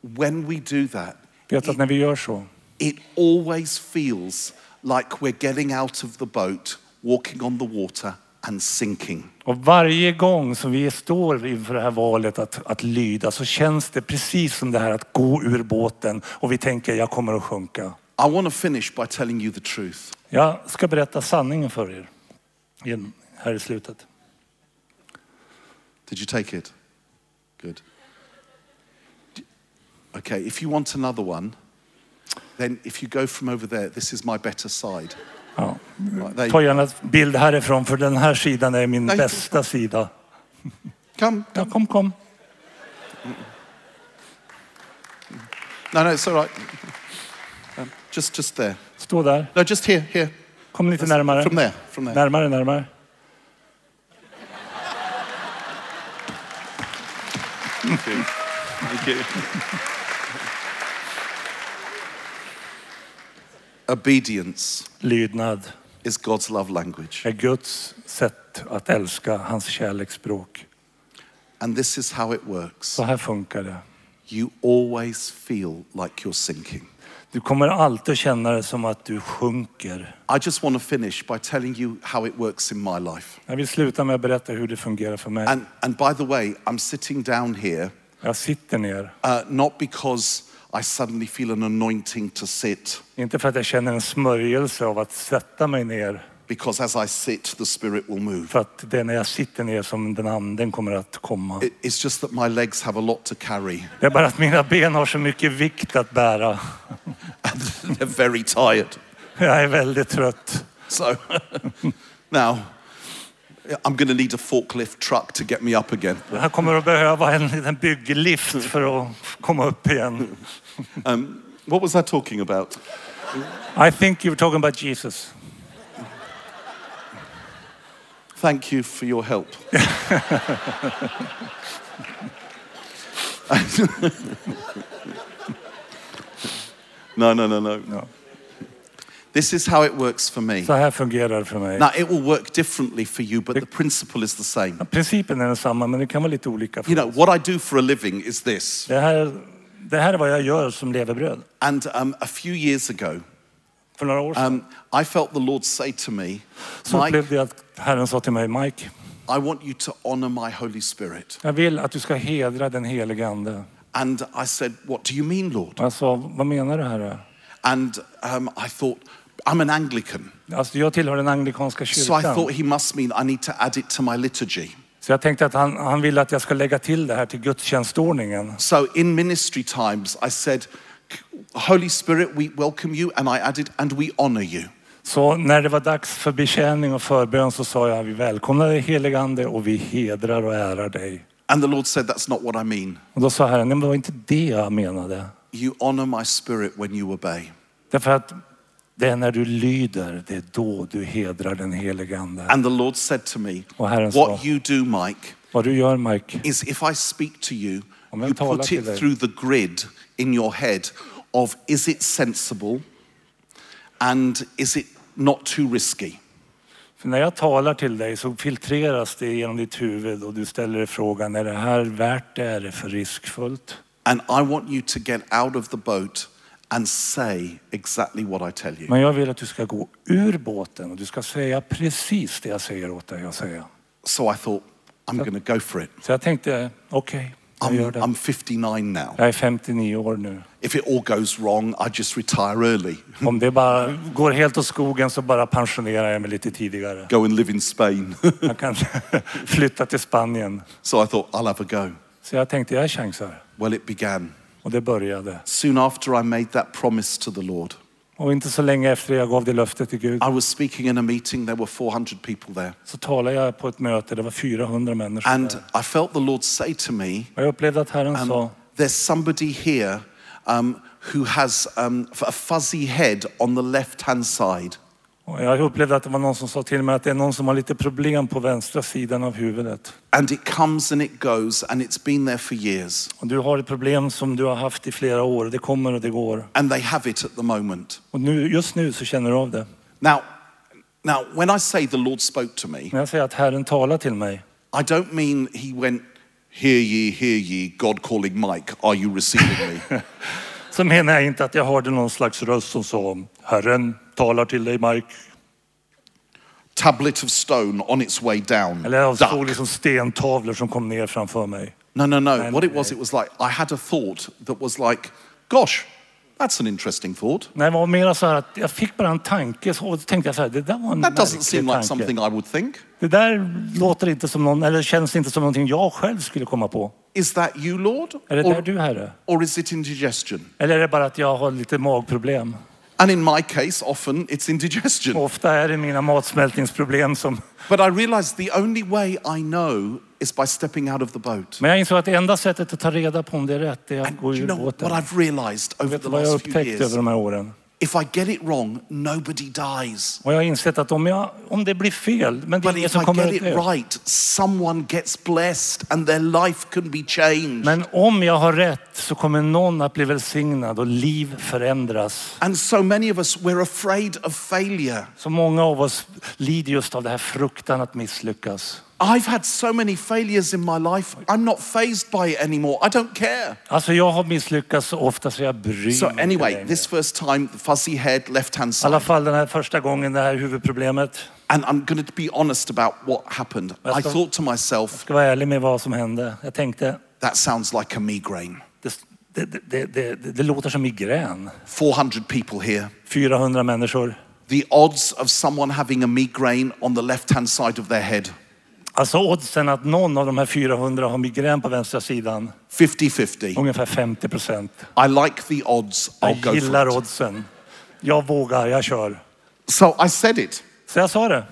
when we do that,
Vet att när vi gör så,
it always feels like we're getting out of the boat, walking on the water, and sinking.
och varje gång som vi står inför det här valet att, att lyda så känns det precis som det här att gå ur båten och vi tänker jag kommer att sjunka.
I want to finish by telling you the truth.
Jag ska berätta sanningen för er igen, här i slutet.
Did you take it? Good. Okay, if you want another one, then if you go from over there, this is my better side.
Ja.
Right, there you-
Ta gärna en bild härifrån för den här sidan är min
Nej.
bästa sida.
Come.
Ja, kom, kom.
No, no, it's all right. Um, just, just there.
Stå där.
No, just here, here.
Kom lite närmare.
From there, from there.
Närmare, närmare.
Obedience
Lydnad
is God's love language.
är Guds sätt att älska, hans kärleksspråk.
And this is how it works.
Så här funkar det.
You always feel like you're sinking.
Du kommer alltid känna det som att du sjunker.
I just want to finish by telling you how it works in my life.
Jag vill sluta med att berätta hur det fungerar för mig.
And, and by the way, I'm sitting down here
Jag sitter ner.
Uh, not because I suddenly feel an anointing to sit,
Inte för att jag känner en smörjelse av att sätta mig ner.
because as I sit, the Spirit will move.
För att det är när jag sitter ner som den anden kommer att komma.
It- It's just that my legs have a lot to carry
Det är bara att mina ben har så mycket vikt att bära.
and they're very tired.
Jag är väldigt trött.
So now I'm going to need a forklift truck to get me up again.
Jag kommer att behöva en liten bygglift för att komma upp igen.
Um, what was I talking about?
I think you were talking about Jesus.
Thank you for your help. no, no, no, no.
No.
This is how it works for me.
Så här fungerar det för mig.
Now, it will work differently for you, but the principle is the same.
Principen är densamma, men det kan vara lite olika. För
You know, what I do for a living is this.
det, här, det här är vad jag gör som levebröd.
And um, a few years ago,
För några år sedan
um, I felt the Lord say to me,
så
Mike,
upplevde jag att Herren sa till mig, Mike,
I want you to honor my Holy Spirit.
jag vill att du ska hedra den helige Ande.
And I said, What do you mean, Lord?
Och jag sa, vad menar du Herre?
And um, I thought, I'm an Anglican.
Alltså, jag tillhör den anglikanska
So I
kyrkan.
thought he must mean I need to add it to my liturgy.
Så jag tänkte att han, han vill att jag ska lägga till det här till gudstjänstordningen.
So in ministry times, I said, Holy Spirit, we welcome you. And I added, and we honor you.
Så när det var dags för betjäning och förbön så sa jag vi välkomnar dig helige Ande och vi hedrar och ärar dig.
And the Lord said, That's not what I mean.
Och då sa Herren, nej men det var inte det jag menade.
You honor my spirit when you obey.
Därför att det är när du lyder, det är då du hedrar den helige Ande.
And the Lord said to me,
Och Herren sa,
What you do, Mike,
vad du gör Mike,
is if I speak to you,
Om jag
you
talar
put
till
it
dig.
through the grid in your head of is it sensible and is it not too risky?
för när jag talar till dig så filtreras det genom ditt huvud och du ställer dig frågan, är det här värt det? Är det för riskfullt?
And I want you to get out of the boat and say exactly what I tell you.
Men jag vill att du ska gå ur båten och du ska säga precis det jag säger åt dig att säga.
So I thought, I'm going to go for it.
Så jag tänkte, okej, jag gör
I'm,
det.
I'm 59 now.
Jag är 59 år nu.
If it all goes wrong, I just retire early,
Om det bara går helt åt skogen så bara pensionerar jag mig lite tidigare.
go and live in Spain.
Jag kan flytta till Spanien.
so I thought, I'll have a go.
Så jag tänkte, jag chansar.
Well, it began.
Och det började.
Soon after I made that promise to the Lord,
Och inte så länge efter jag gav det löftet till Gud
I was speaking in a meeting. There were 400 people there.
så talade jag på ett möte. Det var 400 människor där.
And I felt the Lord say to me,
Och jag upplevde att Herren sa,
Um, There's somebody here um, who has um, a fuzzy head on the left hand side.
och jag upplevde att det var någon som sa till mig att det är någon som har lite problem på vänstra sidan av huvudet.
And it comes and it goes, and it's been there for years.
Och du har ett problem som du har haft i flera år. Det kommer och det går.
And they have it at the moment.
Och nu, just nu så känner du av det.
Now, now, when I say the Lord spoke to me,
När jag säger att Herren talar till mig
I don't mean he went, Hear ye, hear ye, God calling Mike, are you receiving me?
så menar jag inte att jag hörde någon slags röst som sa Herren talar till dig Mike.
tablet of stone on its way down.
Eller jag
Duck.
såg liksom stentavlor som kom ner framför mig.
No, no, no.
And-
What it was, it was like I had a thought that was like, gosh, that's an interesting thought.
Nej, det var mer så här att jag fick bara en tanke så- och då tänkte jag så här, det där var en
That doesn't
märklig
seem like
tanke.
something I would think.
Det där låter inte som någon, eller känns inte som någonting jag själv skulle komma på.
Is that you, Lord?
Är det där
Or,
du Herre?
or is it indigestion?
Eller är det bara att jag har lite magproblem?
And in my case, often it's indigestion.
Ofta är det mina matsmältningsproblem som...
But I realized the only way I know is by stepping out of the boat.
Men jag insåg att det enda sättet att ta reda på om det är rätt är att gå
You
ur
know what
båten.
I've realized over
Vet
the
du vad jag
last few
upptäckt över
years?
de här åren?
If I get it wrong, nobody dies.
Och jag har insett att om, jag, om det blir fel, men det är
But
det
if
som
I
kommer
get
att
it
dö.
right, someone gets blessed and their life can be changed.
Men om jag har rätt så kommer någon att bli välsignad och liv förändras.
And so many of us, we're afraid of failure.
Så många av oss lider just av det här fruktan att misslyckas.
I've had so many failures in my life, I'm not phased by it anymore. I don't care.
Alltså jag har misslyckats så ofta så jag bryr
So,
mig inte
anyway,
längre.
this first time, the fuzzy head, left hand
I alla
side.
fall den här första gången, det här huvudproblemet.
And I'm going to be honest about what happened. I
Pastor.
thought to myself,
Ska vara ärlig med vad som hände. Jag tänkte,
that sounds like a migraine.
det, det, det, det, det, det låter som migrän.
400 people here,
400 människor.
the odds of someone having a migraine on the left hand side of their head
Alltså oddsen att någon av de här 400 har migrän på vänstra sidan,
50 50.
ungefär 50 procent.
I like the odds. I'll
Jag
go for
gillar
it.
oddsen. Jag vågar, jag kör.
So I said it.
Så jag sa det.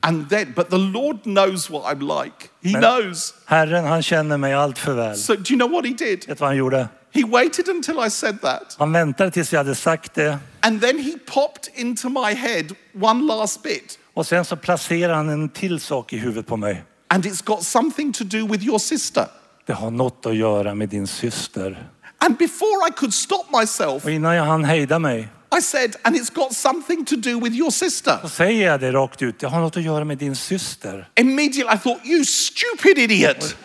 And then, but the Lord knows what I'm like. He
Men-
knows.
Herren, han känner mig allt för väl.
So do you know what he did?
Vet du vad han gjorde?
He waited until I said that.
Han väntade tills jag hade sagt det
And then he popped into my head one last bit.
och sen så placerade han en till sak i huvudet på mig.
And it's got something to do with your sister.
Det har något att göra med din syster.
And before I could stop myself,
Och innan jag hann hejda mig
I said, and it's got something to do with your sister.
så säger jag det rakt ut. Det har något att göra med din syster.
Immediately, I thought, you stupid idiot.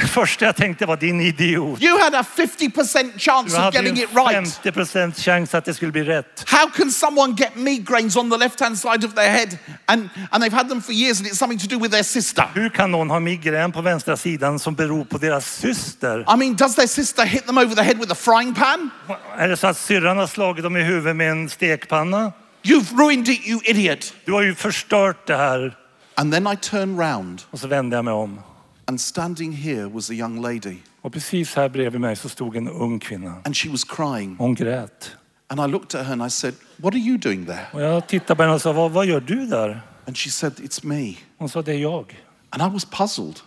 Det första jag tänkte var din idiot.
You had a 50% chance
Du
of
hade
getting
ju
it right.
50 procent chans att det skulle bli rätt.
How can someone get migraines on the left hand side of their head and, and they've had them for years and it's something to do with their sister?
Hur kan någon ha migrän på vänstra sidan som beror på deras syster?
I mean, does their sister hit them over the head with a frying pan?
Är det så att syrran har slagit dem i huvudet med en stekpanna?
You've ruined it, you idiot.
Du har ju förstört det här.
And then I turned round
Och så vände jag mig om.
and standing here was a young lady
Och precis här bredvid mig så stod en ung kvinna.
and she was crying.
Hon grät.
And I looked at her and I said, What are you doing there?
Och jag tittade på henne och sa, vad, vad gör du där?
And she said, It's me.
Hon sa, det är jag.
And I was puzzled.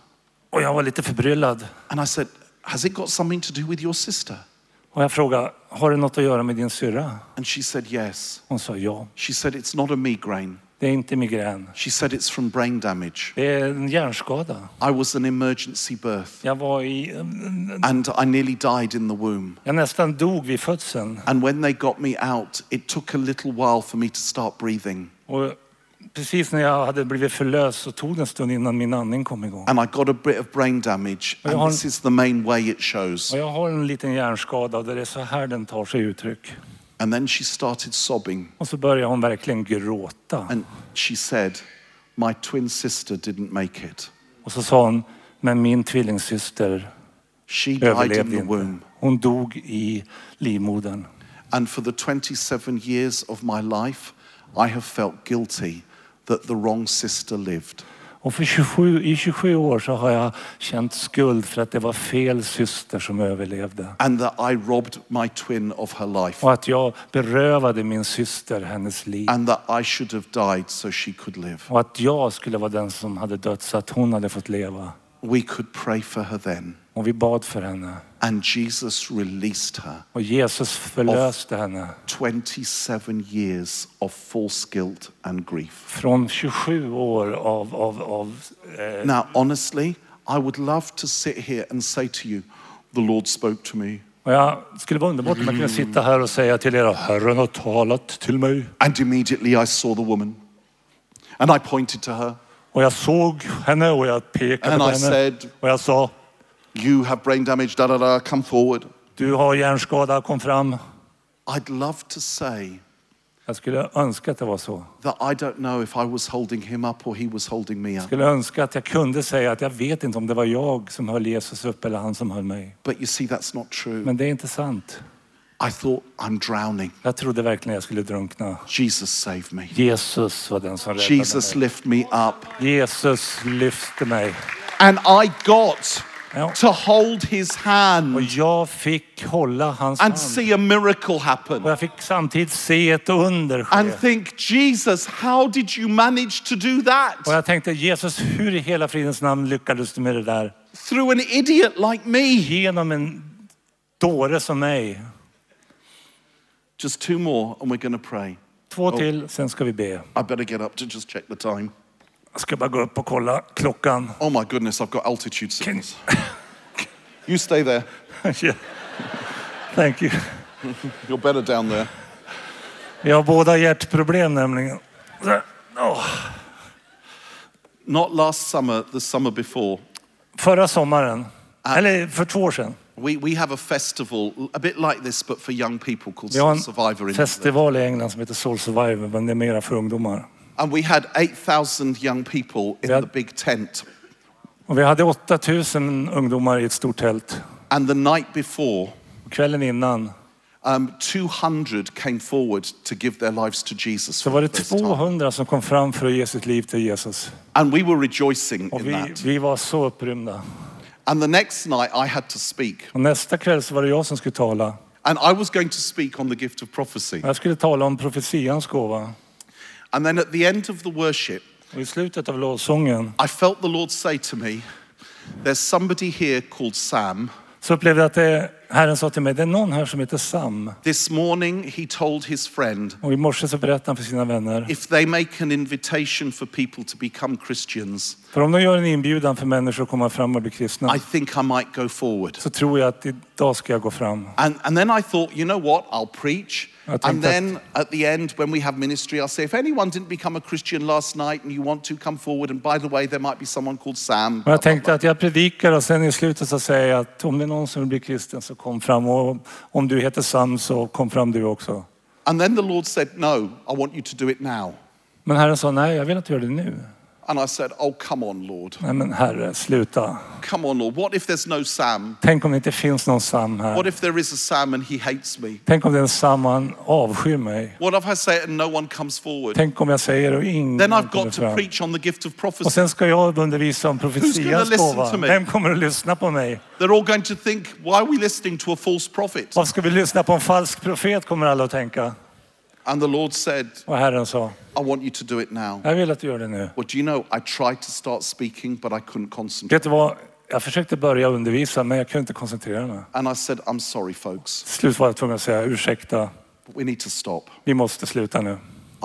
Och jag var lite förbryllad.
And I said, Has it got something to do with your sister?
Och jag frågade, har det något att göra med din syrra?
And she said, Yes.
Hon sa, ja.
She said, It's not a migraine.
Det är inte migrän.
She said, It's from brain damage.
Det är en hjärnskada.
I was an emergency birth
Jag var i...
and I nearly died in the womb.
Jag nästan dog vid födseln.
And when they got me out, it took a little while for me to start breathing.
Och precis när jag hade blivit förlöst så tog det en stund innan min andning kom igång.
And I got a bit of brain damage, and
Well,
this is the main way it shows.
Och jag har en liten hjärnskada och det är så här den tar sig uttryck.
And then she started sobbing
Och så börjar hon verkligen gråta.
and she said, My twin sister didn't make it.
Och så sa hon, men min tvillingsyster
She died in
överlevde
the
inte.
womb.
Hon dog i livmodern.
And for the 27 years of my life, I have felt guilty that the wrong sister lived.
Och för 27, i 27 år så har jag känt skuld för att det var fel syster som överlevde.
And that I robbed my twin of her life.
Och att jag berövade min syster hennes liv.
and that I should have died so she could live.
Och att jag skulle vara den som hade dött så att hon hade fått leva.
We could pray for her then.
Och vi bad för henne.
And Jesus released her.
Och Jesus förlöste henne
27 years of false guilt and grief.
från 27 år av, av, av eh,
Now, honestly, I would love to sit here and say to you, the Lord spoke to me.
och jag skulle vara underbart om jag kunde sitta här och säga till er, Herren har talat till mig.
And immediately I saw the woman. And I pointed to her.
Och jag såg henne och jag pekade
And
på
I
henne.
said-
Och jag sa,
You have brain damage, da da da, come forward.
du har hjärnskada, kom fram.
I'd love to say
Jag skulle önska att det var så.
that I don't know if I was holding him up or he was holding me
Jag
up.
skulle önska att jag kunde säga att jag vet inte om det var jag som höll Jesus upp eller han som höll mig.
But you see, that's not true.
Men det är inte sant.
I thought, I'm drowning.
Jag trodde verkligen jag skulle drunkna.
Jesus saved me.
Jesus var den som räddade
Jesus lift me up.
mig. Jesus lyfte mig.
And I got
Ja.
to hold his
Och
hand
jag fick hålla hans hand.
and see a miracle
Och
happen.
jag fick samtidigt se ett under
And
ske.
think, Jesus, how did you manage to do
Och
that?
jag tänkte, Jesus, hur i hela fridens namn lyckades du med det där?
Through an idiot like me.
Genom en dåre som mig.
Just two more, and we're going to pray.
Två till, sen ska vi be.
I better get up to just check the time.
Jag ska bara gå upp och kolla klockan.
Oh my goodness, I've got altitude
Can-
sickness. You stay there.
Yeah. Thank you.
You're better down there.
Vi har båda hjärtproblem nämligen. Där. Åh.
Not last summer, the summer before,
Förra sommaren, eller för två år sedan,
We, we have a festival, a bit like this, but for young people called
vi har
Soul
en
Survivor. In
festival i England som heter Soul Survivor, men det är mera för ungdomar.
and we had 8,000 young people in
Ja.
the big tent.
Och vi hade 8000 ungdomar i ett stort tält.
And the night before,
Och kvällen innan,
um, 200 came forward to give their lives to Jesus. For
Så var det
the first time.
200 som kom fram för att ge sitt liv till Jesus.
And we were rejoicing
Och
in
vi,
that.
vi var så upprymda.
And the next night, I had to speak.
Och nästa kväll så var det jag som skulle tala.
And I was going to speak on the gift of prophecy.
Jag skulle tala om profetians gåva.
And then at the end of the worship,
Och i slutet av lovsången
I felt the Lord say to me, There's somebody here called Sam.
så upplevde jag att det, Herren sa till mig, det är någon här som heter Sam.
This morning, he told his friend,
Och i morse så berättade han för sina vänner.
if they make an invitation for people to become Christians,
För om de gör en inbjudan för människor att komma fram och bli kristna
I think I might go forward.
så tror jag att idag ska jag gå fram.
And, and then I thought, you know what, I'll preach.
I think
And
that-
then at the end, when we have ministry, I'll say, if anyone didn't become a Christian last night and you want to, come forward. And by the way, there might be someone called Sam.
Men jag tänkte att jag predikar och sen i slutet så säger jag att om det är någon som vill bli kristen så kom fram. Och om du heter Sam så kom fram du också.
And then the Lord said, no, I want you to do it now.
Men Herren sa, nej jag vill att du gör det nu.
And I said, oh, come on, Lord.
Nej men Herre, sluta.
Come on, Lord. What if there's no Sam?
Tänk om det inte finns någon Sam
What
här.
if there is a Sam and he hates me?
Tänk om det är en Sam och han avskyr mig.
What if I say it and no one comes forward?
Tänk om jag säger och ingen
Then I've
kommer
got to
fram.
preach on the gift of
Och
prophecy.
sen ska jag undervisa om
Who's
profetians
gonna listen
gåva.
to me?
Vem kommer att lyssna på mig?
They're all going to think, why are we listening to a false prophet?
Varför ska vi lyssna på en falsk profet kommer alla att tänka.
And the Lord said,
Och Herren sa,
I want you to do it now.
jag vill att du gör det nu.
Well, do you know, I tried to start speaking, but I couldn't concentrate.
Vet du vad? Jag försökte börja undervisa men jag kunde inte koncentrera mig.
And I said, I'm sorry, folks,
Till slut var jag tvungen att säga ursäkta,
but we need to stop.
vi måste sluta nu.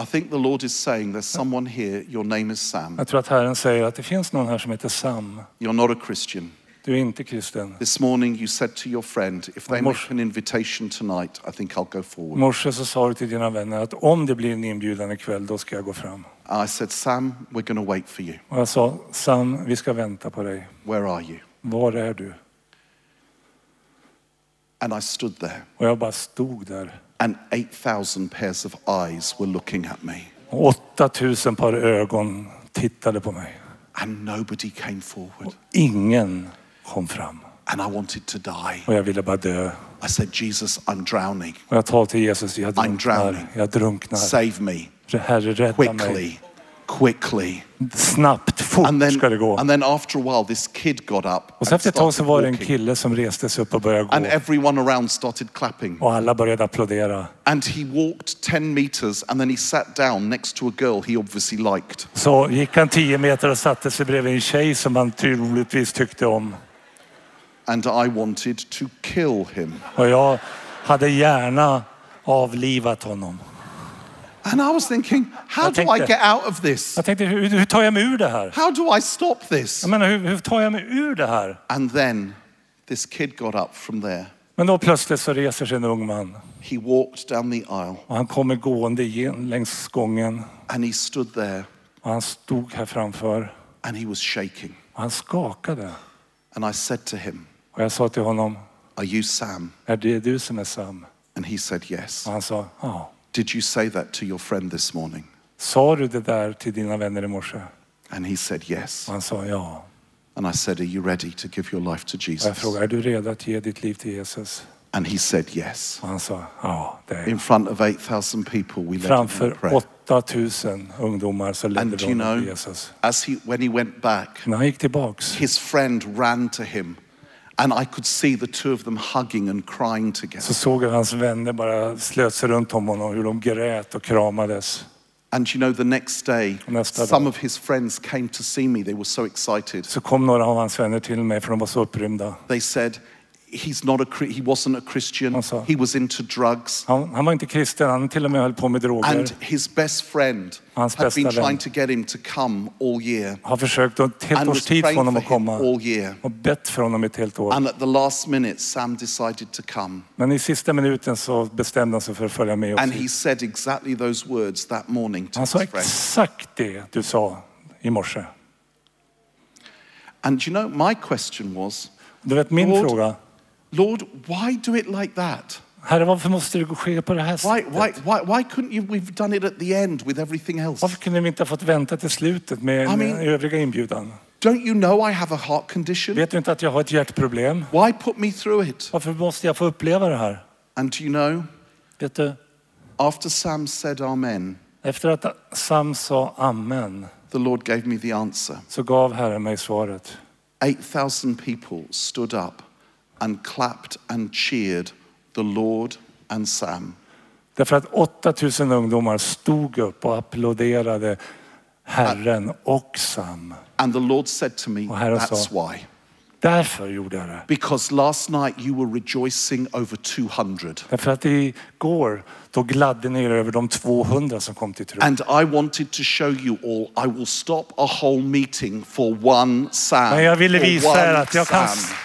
I think the Lord is saying, There's someone here, your name is Sam.
Jag tror att Herren säger att det finns någon här som heter Sam.
You're not a Christian.
Du är inte kristen.
This morning you said to your friend, If they
Mor-
make an invitation tonight, I think I'll go
I
forward.
morse så sa du till dina vänner att om det blir en inbjudan ikväll då ska jag gå fram.
And I said, Sam, we're going to wait for you.
Och jag sa Sam, vi ska vänta på dig.
Where are you?
Var är du?
And I stood there,
Och jag bara stod där.
and 8,000 pairs of eyes were looking at me,
Och 8000 par ögon tittade på mig.
and nobody came forward.
Ingen kom fram.
And I wanted to die.
Och jag ville bara dö.
I said, Jesus, I'm drowning.
Och jag talade till Jesus, jag
I'm
drunknar.
drowning.
Jag drunknar.
Save me.
Herre, rädda mig.
quickly, quickly.
Snabbt, fort
And then,
ska det gå.
and then after a while, this kid got up
Och
and
sen efter ett tag så
started
var det en
walking,
kille som reste sig upp och började
and
gå.
everyone around started clapping.
Och alla började applådera.
And he walked 10 meters and then he sat down next to a girl he obviously liked.
Så gick han tio meter och satte sig bredvid en tjej som han troligtvis tyckte om.
And I wanted to kill him.
Och jag hade gärna avlivat honom.
And I was thinking, how
Jag
do I
tänkte-
get out of this?
Jag tänkte, hur, hur tar jag mig ur det här?
How do I stop this?
Jag menar, hur, hur tar jag mig ur det här?
And then this kid got up from there.
Men då plötsligt så reser sig en ung man
He walked down the aisle
och han kommer gående igen längs gången
and he stood there
och han stod här framför
and he was shaking.
och han skakade.
And I said to him,
Och jag sa till honom,
Are you Sam?
är det du som är Sam?
And he said, Yes.
Och han sa, ja.
Did you say that to your friend this morning?
Sa du det där till dina vänner i morse?
And he said, Yes.
Och han sa ja.
And I said, Are you ready to give your life to
Och jag
Jesus?
frågade, är du redo att ge ditt liv till Jesus?
And he said, Yes.
Och han sa, ja det är jag."
In front of 8,000 people, we led him in
Framför
prayer.
8000 ungdomar så ledde
And
vi
do you
honom till
know,
Jesus.
as he, when he went back,
När han gick tillbaks
his friend ran to him. And I could see the two of them hugging and crying
så
together.
såg jag hans vänner bara slöt sig runt om honom, hur de grät och kramades.
And you know, the next day,
Nästa dag.
some of his friends came to see me. They were so excited.
Så kom några av hans vänner till mig för de var så upprymda.
They said, He's not a, Chri- he wasn't a Christian.
Alltså.
He was into drugs.
Han, han var inte kristen, han till och med höll på med droger.
And his best friend
Hans
had been
bästa
trying
vän.
to get him to come all year
har försökt och ett helt
and
års
was
tid få
praying
honom
for
att
him
komma
all year.
och bett för honom ett helt år.
And at the last minute, Sam decided to come.
Men i sista minuten så bestämde han sig för att följa med oss.
And he said exactly those words that morning to
Han
his
sa
friend.
exakt det du sa i morse.
And you know, my question was,
Du vet min
Lord.
fråga,
Lord, why do it like that?
Herre varför måste det ske på det här
Why,
sättet?
why, why, why couldn't you? We've done it at the end with everything else.
Varför kunde vi inte ha fått vänta till slutet med
I
den
mean-
övriga inbjudan?
Don't you know I have a heart condition?
Vet du inte att jag har ett hjärtproblem?
Why put me through it?
Varför måste jag få uppleva det här?
And And do you know,
Vet du,
after Sam said amen,
efter att Sam sa amen
the Lord gave me the answer.
så gav Herren mig svaret.
8,000 people stood up and clapped and cheered the Lord and Sam.
Därför att 8000 ungdomar stod upp och applåderade Herren och Sam.
And the Lord said to me,
Och Herren
That's
sa-
why.
Därför gjorde jag det.
Because last night you were rejoicing over 200.
Därför att igår då gladde ni er över de 200 som kom till tro.
And I wanted to show you all, I will stop a whole meeting for one Sam.
Men jag ville
for
visa
one
er att jag kan s-
Sam.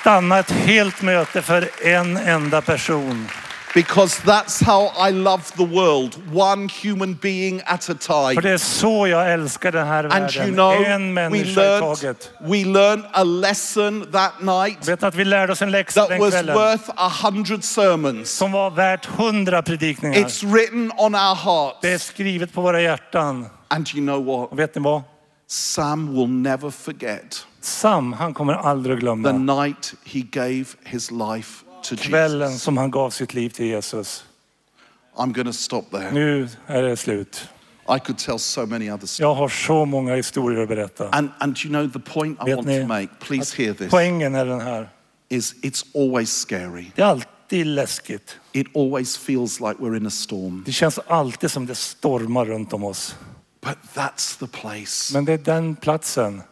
stanna ett helt möte för en enda person.
Because that's how I love the world, one human being at a time.
För det är så jag älskar den här
And
världen.
you know,
en
we
människa i
learned,
taget.
we learned a lesson that night
Vet ni att vi lärde oss en läxa
that
den
was
kvällen
worth a hundred sermons.
som var värt hundra predikningar.
It's written on our
Det är
hearts.
skrivet på våra hjärtan.
And you know what?
Och vet ni vad?
Sam will never forget
Sam, han kommer aldrig att
the
glömma
night he gave his life to Jesus.
kvällen som han gav sitt liv till Jesus.
I'm going to stop there.
Nu är det slut.
I could tell so many other stories.
Jag har så många historier att berätta.
And, and you know, the point I
Vet
want
ni
to make, please hear this,
Poängen är den här.
is it's always scary.
Det är alltid läskigt.
It always feels like we're in a storm.
Det känns alltid som det stormar runt om oss.
But that's the place
Men det är den platsen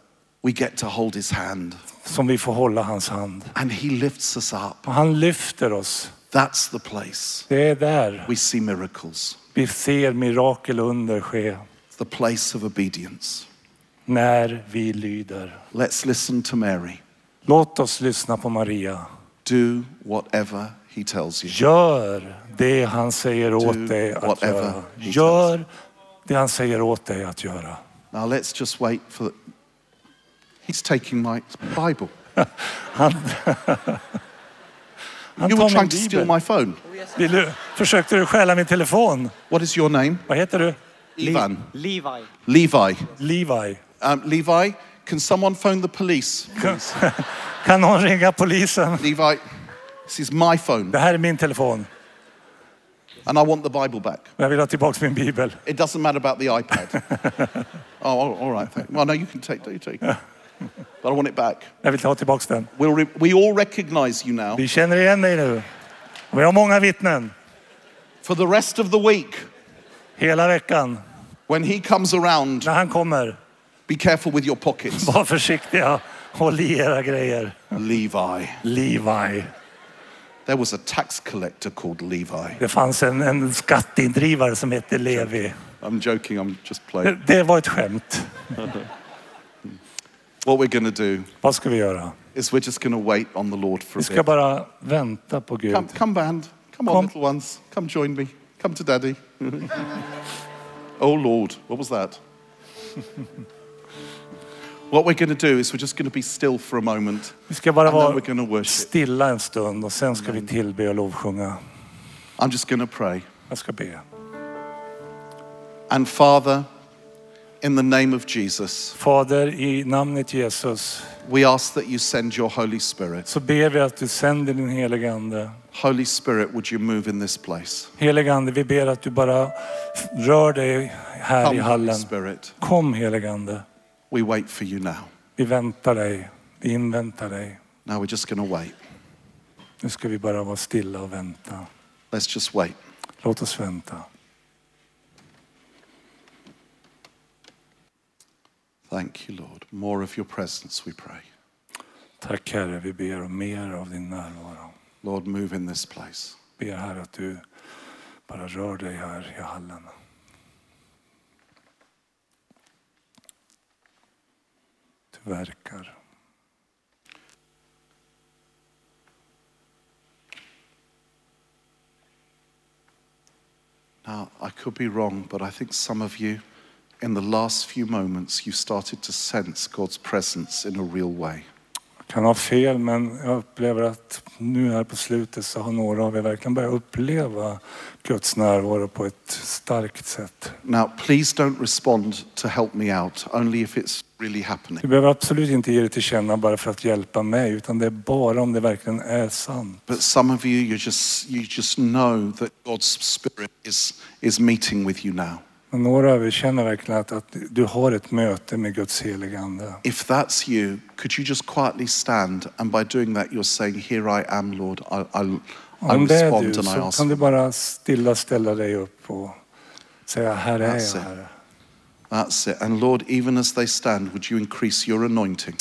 we get to hold his hand.
som vi får hålla hans hand.
And he lifts us up.
Och han lyfter oss.
That's the place
Det är där
we see miracles.
vi ser mirakel och under ske.
The place of obedience.
När vi lyder.
Let's listen to Mary.
Låt oss lyssna på Maria.
Do whatever he tells you.
Gör det han säger åt dig att
whatever
göra.
he tells
Gör det han säger åt dig att göra.
Now let's just wait for. He's taking my Bible.
Han, han
You were
tar
trying to
min
steal
bibel.
my phone.
Vill du, försökte du stjäla min telefon?
What is your name?
Vad heter du?
Levan.
Levi.
Levi.
Levi.
Um, Levi, can someone phone the police? please?
Kan någon ringa polisen?
Levi, this is my phone,
Det här är min telefon.
and I want the Bible back.
Jag vill ha tillbaka min bibel.
It doesn't matter about the iPad. oh, all- all right. Thank well, no, you can take. You take. But I want it back.
Jag vill ha tillbaka den.
We'll re- we all recognize you now.
Vi känner igen dig nu. Vi har många vittnen.
For the rest of the week,
Hela veckan.
when he comes around,
När han kommer,
be careful with your pockets.
var försiktiga. Håll i era grejer.
Levi.
Levi.
There was a tax collector called Levi.
Det fanns en, en skatteindrivare som hette Levi.
I'm joking, I'm just
Det,
playing.
det var ett skämt.
What we're going to do
Vad ska vi göra?
is we're just going to wait on the Lord for a
Vi ska
bit.
bara vänta på Gud.
Come, come band. Come on,
Come.
little ones. Come join me. Come to daddy. oh, Lord. What was that? what we're going to do is we're just going to be still for a moment
Vi ska bara
and then we're
vara
going to worship.
stilla en stund och sen ska vi tillbe och lovsjunga.
I'm just going to pray.
Jag ska be.
And Father, in the name of Jesus,
Fader, i namnet Jesus
we ask that you send your Holy Spirit.
så ber vi att du sänder din helige Ande.
Holy Spirit, would you move in this place?
Helige Ande, vi ber att du bara rör dig här
Come,
i
Holy
hallen.
Spirit.
Kom helige Ande.
We wait for you now.
Vi väntar dig. Vi inväntar dig.
Now we're just going to wait.
Nu ska vi bara vara stilla och vänta.
Let's just wait.
Låt oss vänta.
Thank you, Lord. More of your presence, we pray.
Tack Herre, vi ber om mer av din närvaro.
Lord, move in this place.
Ber Herre att du bara rör dig här i hallen. Du verkar.
Now, I could be wrong, but I think some of you, in the last few moments, you started to sense God's presence in a real way.
Jag kan ha fel men jag upplever att nu här på slutet så har några av er verkligen börjat uppleva Guds närvaro på ett starkt sätt.
Now, please don't respond to help me out, only if it's really happening.
Du behöver absolut inte ge det till känna bara för att hjälpa mig, utan det är bara om det verkligen är sant.
But some of you, you just, you just know that God's Spirit is, is meeting with you now.
Men några av er känner verkligen att, att du har ett möte med Guds heliga Ande.
If that's you, could you just quietly stand? And by doing that, you're saying, Here I am, Lord. I, I, I
Om det är
respond
du
and I
så
ask.
kan du bara stilla ställa dig upp och säga, här är
That's
jag,
it.
Herre.
That's it. And Lord, even as they stand, would you increase your anointing?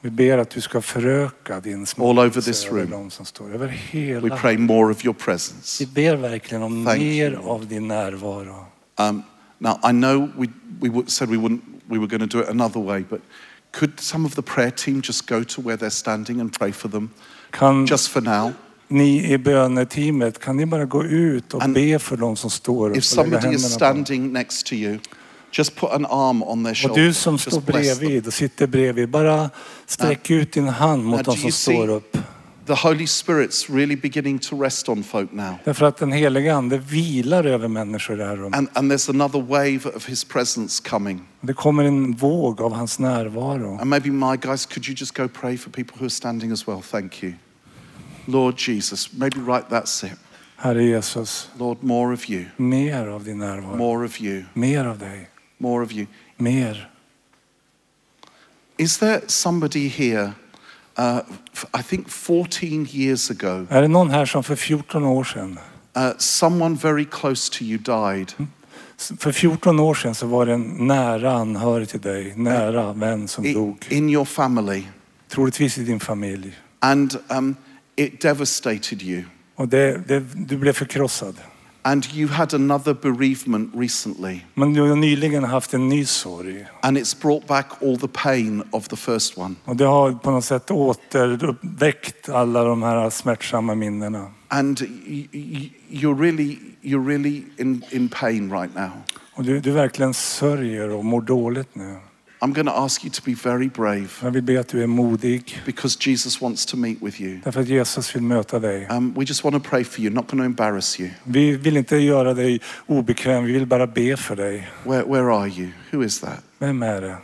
Vi ber att du ska föröka din
All over this
smörjelse över
room.
de som står över
We
hela.
pray more of your presence.
Vi ber verkligen om
Thank
mer
you.
av din närvaro.
Um, now, I know we, we w- said we, wouldn't, we were going to do it another way, but could some of the prayer team just go to where they're standing and pray for them
Kan
just for now?
ni i böneteamet, kan ni bara gå ut och
And
be för de som står upp
If
och lägga
somebody is
händerna på dem?
standing next to you, just put an arm on their shoulder.
Och du som
Just
står
bless them.
bredvid och sitter bredvid, bara sträck ut din hand
Now,
mot de
do you
som
see-
står upp.
The Holy Spirit's really beginning to rest on folk now.
Därför att den heliga Ande vilar över människor i det här rummet.
And, and there's another wave of his presence coming.
Det kommer en våg av hans närvaro.
And maybe my guys, could you just go pray for people who are standing as well? Thank you. Lord Jesus, maybe right that's it.
Herre Jesus,
Lord, more of you,
mer av din närvaro.
more of you,
Mer av dig.
more of you.
Mer.
Is there somebody here? Uh, f- I think 14 years ago,
Är det någon här som för 14 år sedan,
uh, someone very close to you died.
för 14 år sedan så var det en nära anhörig till dig, nära vän som
i-
dog.
in your family,
Troligtvis i din familj.
and um, it devastated you.
Och det, det, du blev förkrossad.
And you had another bereavement recently,
Men du har nyligen haft en ny sorg.
and it's brought back all the pain of the first one.
Och det har på något sätt återuppväckt alla de här smärtsamma minnena.
And y- y- you're really, you're really in, in pain right now.
Och du, du verkligen sörjer och mår dåligt nu.
I'm going to ask you to be very brave
Jag vill be att du är modig.
because Jesus wants to meet with you.
Därför att Jesus vill möta dig.
Um, we just want to pray for you, not going to embarrass you.
Vi vill inte göra dig obekväm, vi vill bara be för dig.
Where, where are you? Who is that?
Vem är det?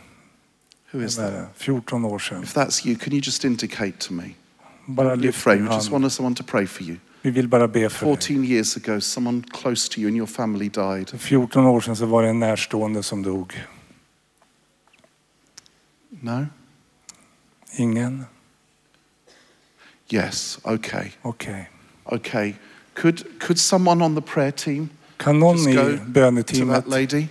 Who is
Vem är
that?
det? 14 år sedan.
If that's you, can you just indicate to me?
Bara
Your
lyft
frame.
din
We just
hand.
want someone to pray for you.
Vi vill bara be för dig.
14 years ago, someone close to you in your family died.
För 14 år sedan så var det en närstående som dog.
No?
Ingen?
Yes. Okay.
Okej.
Okay. Could, could someone on the prayer team
Kan någon
Just
i
go to
böneteamet...
that lady?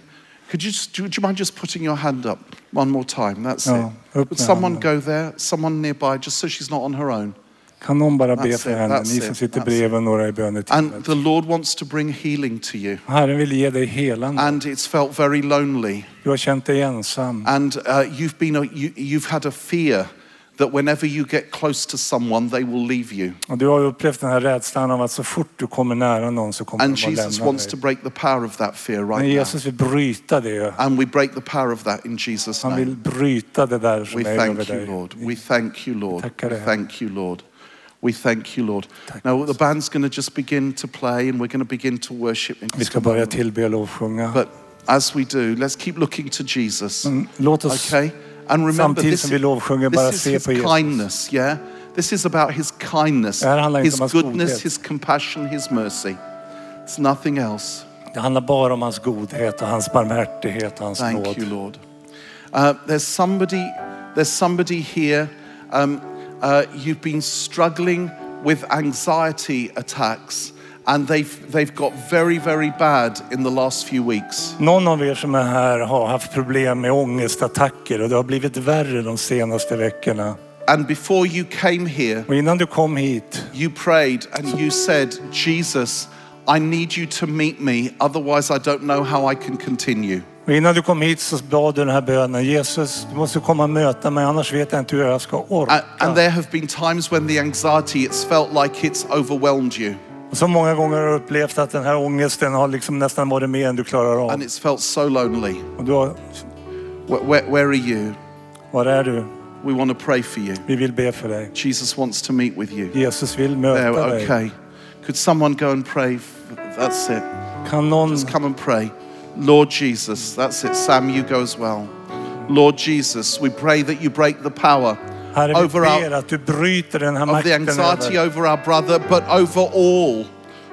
Could you just, do, do you mind just putting your hand up one more time? That's
Ja,
it. Would
upp med
someone
handen.
go there? Someone nearby, just so she's not on her own.
Kan någon bara
That's
be
it,
för henne,
that's
ni
it,
som sitter
that's
bredvid några i
And
böneteamet.
the Lord wants to bring healing to you.
Herren vill ge dig helande.
And it's felt very lonely.
Du har känt dig ensam.
And uh, you've, been a, you, you've had a fear that whenever you get close to someone, they will leave you.
Och du har upplevt den här rädslan av att så fort du kommer nära någon så kommer
And
de bara
Jesus
lämna
wants to
dig.
break the power of that fear right
Men
now.
Jesus vill bryta det.
And we break the power of that in Jesus'
Han
name.
vill bryta det där som
We
är över
thank you,
dig.
Lord. We thank you, Lord.
tackar
We
dig.
thank you, Lord. We thank you, Lord.
Tack,
Now the
Jesus.
band's going to just begin to play and we're going to begin to worship in
Vi
just
ska
a
börja
moment.
tillbe och lovsjunga.
But as we do, let's keep looking to Jesus.
Mm, Låt oss
Okay? And remember,
samtidigt
this,
som vi lovsjunger bara
this
se
is
på
his
Jesus.
kindness, yeah? This is about his kindness,
Det här handlar inte
his
om hans
goodness,
godhet.
his compassion, his mercy. It's nothing else.
Det handlar bara om hans godhet och hans barmhärtighet och hans
Thank you,
nåd.
Lord. Uh, there's somebody, there's somebody here. Um, uh, you've been struggling with anxiety attacks, and they've they've got very very bad in the last few weeks.
Någon av er som är här har haft problem med ångestattacker och det har blivit värre de senaste veckorna.
And before you came here,
Och innan du kom hit
you prayed and you said, Jesus, I need you to meet me. Otherwise, I don't know how I can continue.
Och innan du kom hit så bad du den här bönen. Jesus, du måste komma och möta mig annars vet jag inte hur jag ska orka.
And, Uh, and there have been times when the anxiety it's felt like it's overwhelmed you,
Och så många gånger har du upplevt att den här ångesten har liksom nästan varit mer än du klarar
and
av.
it's felt so lonely.
Och du har,
Where, where, where are you?
var är du?
We want to pray for you.
Vi vill be för dig.
Jesus wants to meet with you.
Jesus vill
There,
möta dig.
okay. Could someone go and pray? That's it.
Kan någon
Come and pray. Lord Jesus, that's it. Sam, you go as well. Lord Jesus, we pray that you break the power
Herre, vi
over
ber
our,
att du bryter den här
of the
makten
anxiety
över,
over our brother, but over all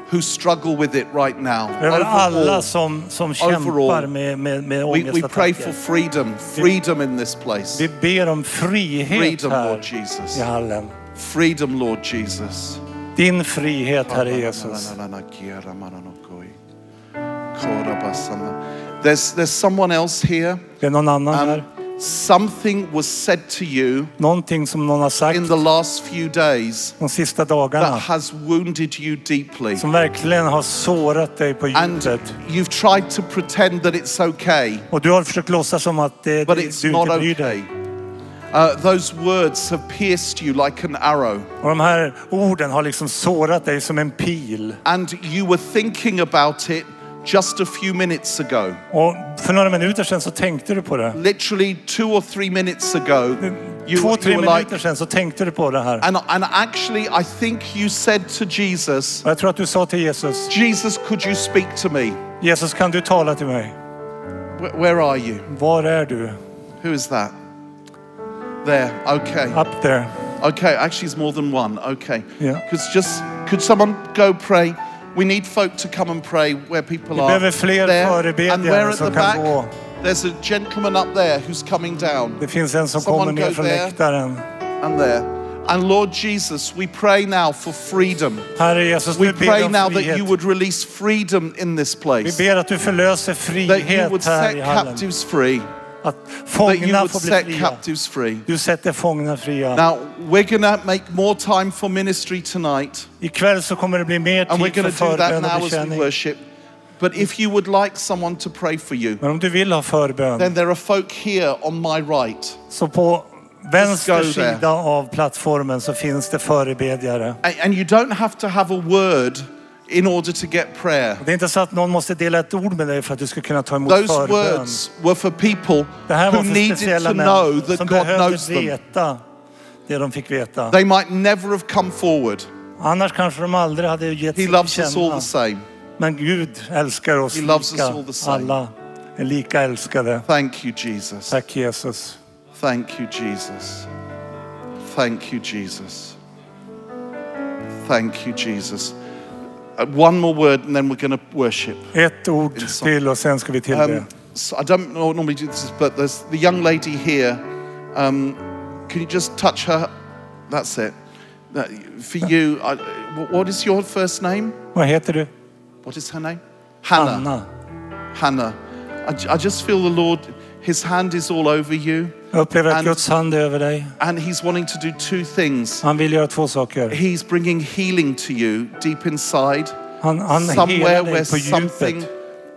who struggle with it right now.
över
Over
alla
all.
som, som
Overall.
kämpar med, med, med
We, we pray for
ångestattacker.
freedom, freedom in this place.
Vi ber om frihet
Freedom,
här
Lord Jesus.
i hallen.
Freedom, Lord Jesus.
Din frihet, Herre Jesus.
There's, there's someone else here,
Det är någon annan här.
and something was said to you
Någonting som någon har sagt
in the last few days
de sista
that
dagarna
has wounded you deeply.
som verkligen har sårat dig på
And
djupet.
you've tried to pretend that it's okay,
Och du har försökt låtsas som att det,
but
du
it's
inte
not
bryr
okay.
dig.
Uh, those words have pierced you like an arrow,
Och de här orden har liksom sårat dig som en pil.
and you were thinking about it just a few minutes ago.
Och för några minuter sedan så tänkte du på det.
Literally two or three minutes ago, you,
Två,
you
tre
were like,
minuter sedan så tänkte du på det här.
and, and actually, I think you said to Jesus,
Och jag tror att du sa till Jesus,
Jesus, could you speak to me?
Jesus kan du tala till mig?
Where, where are you?
Var är du?
Who is that? There, okay.
Up there.
Okay, actually, it's more than one. Okay.
Yeah.
Because just, could someone go pray? We need folk to come and pray where people are.
behöver fler förebedjare
and where at
som
the
kan
back,
gå.
there's a gentleman up there who's coming down
Det finns en som
Someone
kommer ner
go
från
there.
läktaren.
and there. And Lord Jesus, we pray now for freedom.
Herre Jesus,
We
vi
pray
ber
now
om
that
frihet.
you would release freedom in this
Vi
place.
ber att du förlöser
That you would
frihet här
set
i hallen.
captives free.
Att
That you
fångna
would
får bli
set
fria.
captives free.
Du sätter fångna fria.
Now, we're going to make more time for ministry tonight.
Ikväll så kommer det bli mer
And we're
tid för
going to do that
förbön och
now as we
betjäning.
worship. But if you would like someone to pray for you,
Men om du vill ha förbön,
then there are folk here on my right.
så på
go
vänster
there.
sida av plattformen så finns det förebedjare.
A- And you don't have to have a word in order to get prayer.
Det är inte så att någon måste dela ett ord med dig för att du ska kunna ta emot
Those
förbön.
words were for people
Det här var
who
för
needed
speciella
to know
män
that
som
God
behövde
knows them.
veta det de fick veta.
They might never have come forward.
Annars kanske de aldrig hade gett
He
sig till
loves us all
känna.
the same.
Men Gud älskar oss
He loves us
lika.
all the same.
Alla är lika älskade.
Thank you, Jesus.
Tack Jesus.
Thank you, Jesus. Thank you, Jesus. Thank you, Jesus. Uh, one more word and then we're going to worship.
Ett ord
Insång.
till och sen ska vi tillbe.
Um, so I don't nor- normally do this, but there's the young lady here. Um, can you just touch her? That's it. That- for you, I, wh- what is your first name?
Vad heter du?
What is her name? Hannah.
Anna.
Hannah. I, j- I just feel the Lord, His hand is all over you,
Jag upplever att
And-
Guds hand är över dig.
and He's wanting to do two things.
Han vill göra två saker.
He's bringing healing to you deep inside,
Han, han
somewhere
helar
where
dig på
something,
djupet.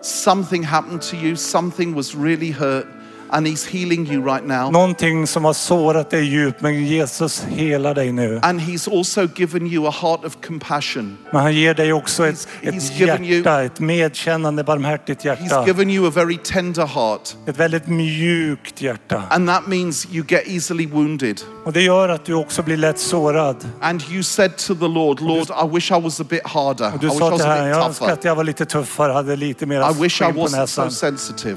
something happened to you, something was really hurt, and He's healing you right now.
Någonting som har sårat dig djupt, men Jesus helar dig nu.
And he's also given you a heart of compassion.
Men han ger dig också ett,
he's
ett
given you-
hjärta, ett medkännande, barmhärtigt
He's
hjärta.
given you a very tender heart.
Ett väldigt mjukt hjärta.
And that means you get easily wounded.
Och det gör att du också blir lätt sårad.
And you said to the Lord, Lord, I wish I was a bit harder. I
Du
wish I
sa
was
till
a
Herren,
bit
jag önskar
tougher.
att jag var lite tuffare, hade lite
I
mer
wish I
skinn på
wasn't so
näsan.
sensitive.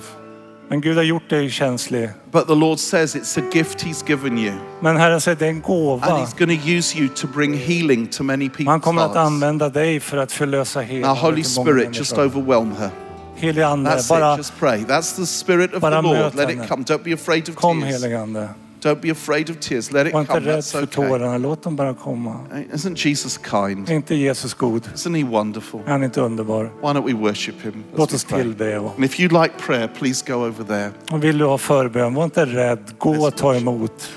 Men Gud har gjort dig känslig.
But the Lord says it's a gift He's given you.
Men Herren säger, det är en
And
gåva.
He's going to use you to bring healing to many
Han
people's
kommer att
hearts.
använda dig för att förlösa
Now,
helande
Holy
till många
Spirit, just
människor.
overwhelm her.
Helige Ande,
That's it.
bara
Just pray. That's the Spirit of the
Bara
Lord.
möt
Let it
henne.
come. Don't be afraid of
kom
tears.
helige Ande.
Don't be afraid of tears. Let it
Var inte
come.
rädd
That's
för
okay.
tårarna, låt dem bara komma.
Isn't Jesus kind?
Är inte Jesus god?
Isn't he wonderful?
Är han inte underbar?
Why don't we worship him? as
Låt
we
oss
pray?
tillbe. och-
And if you'd like prayer, please go over there.
Och vill du ha förbön, var inte rädd. Gå och ta emot.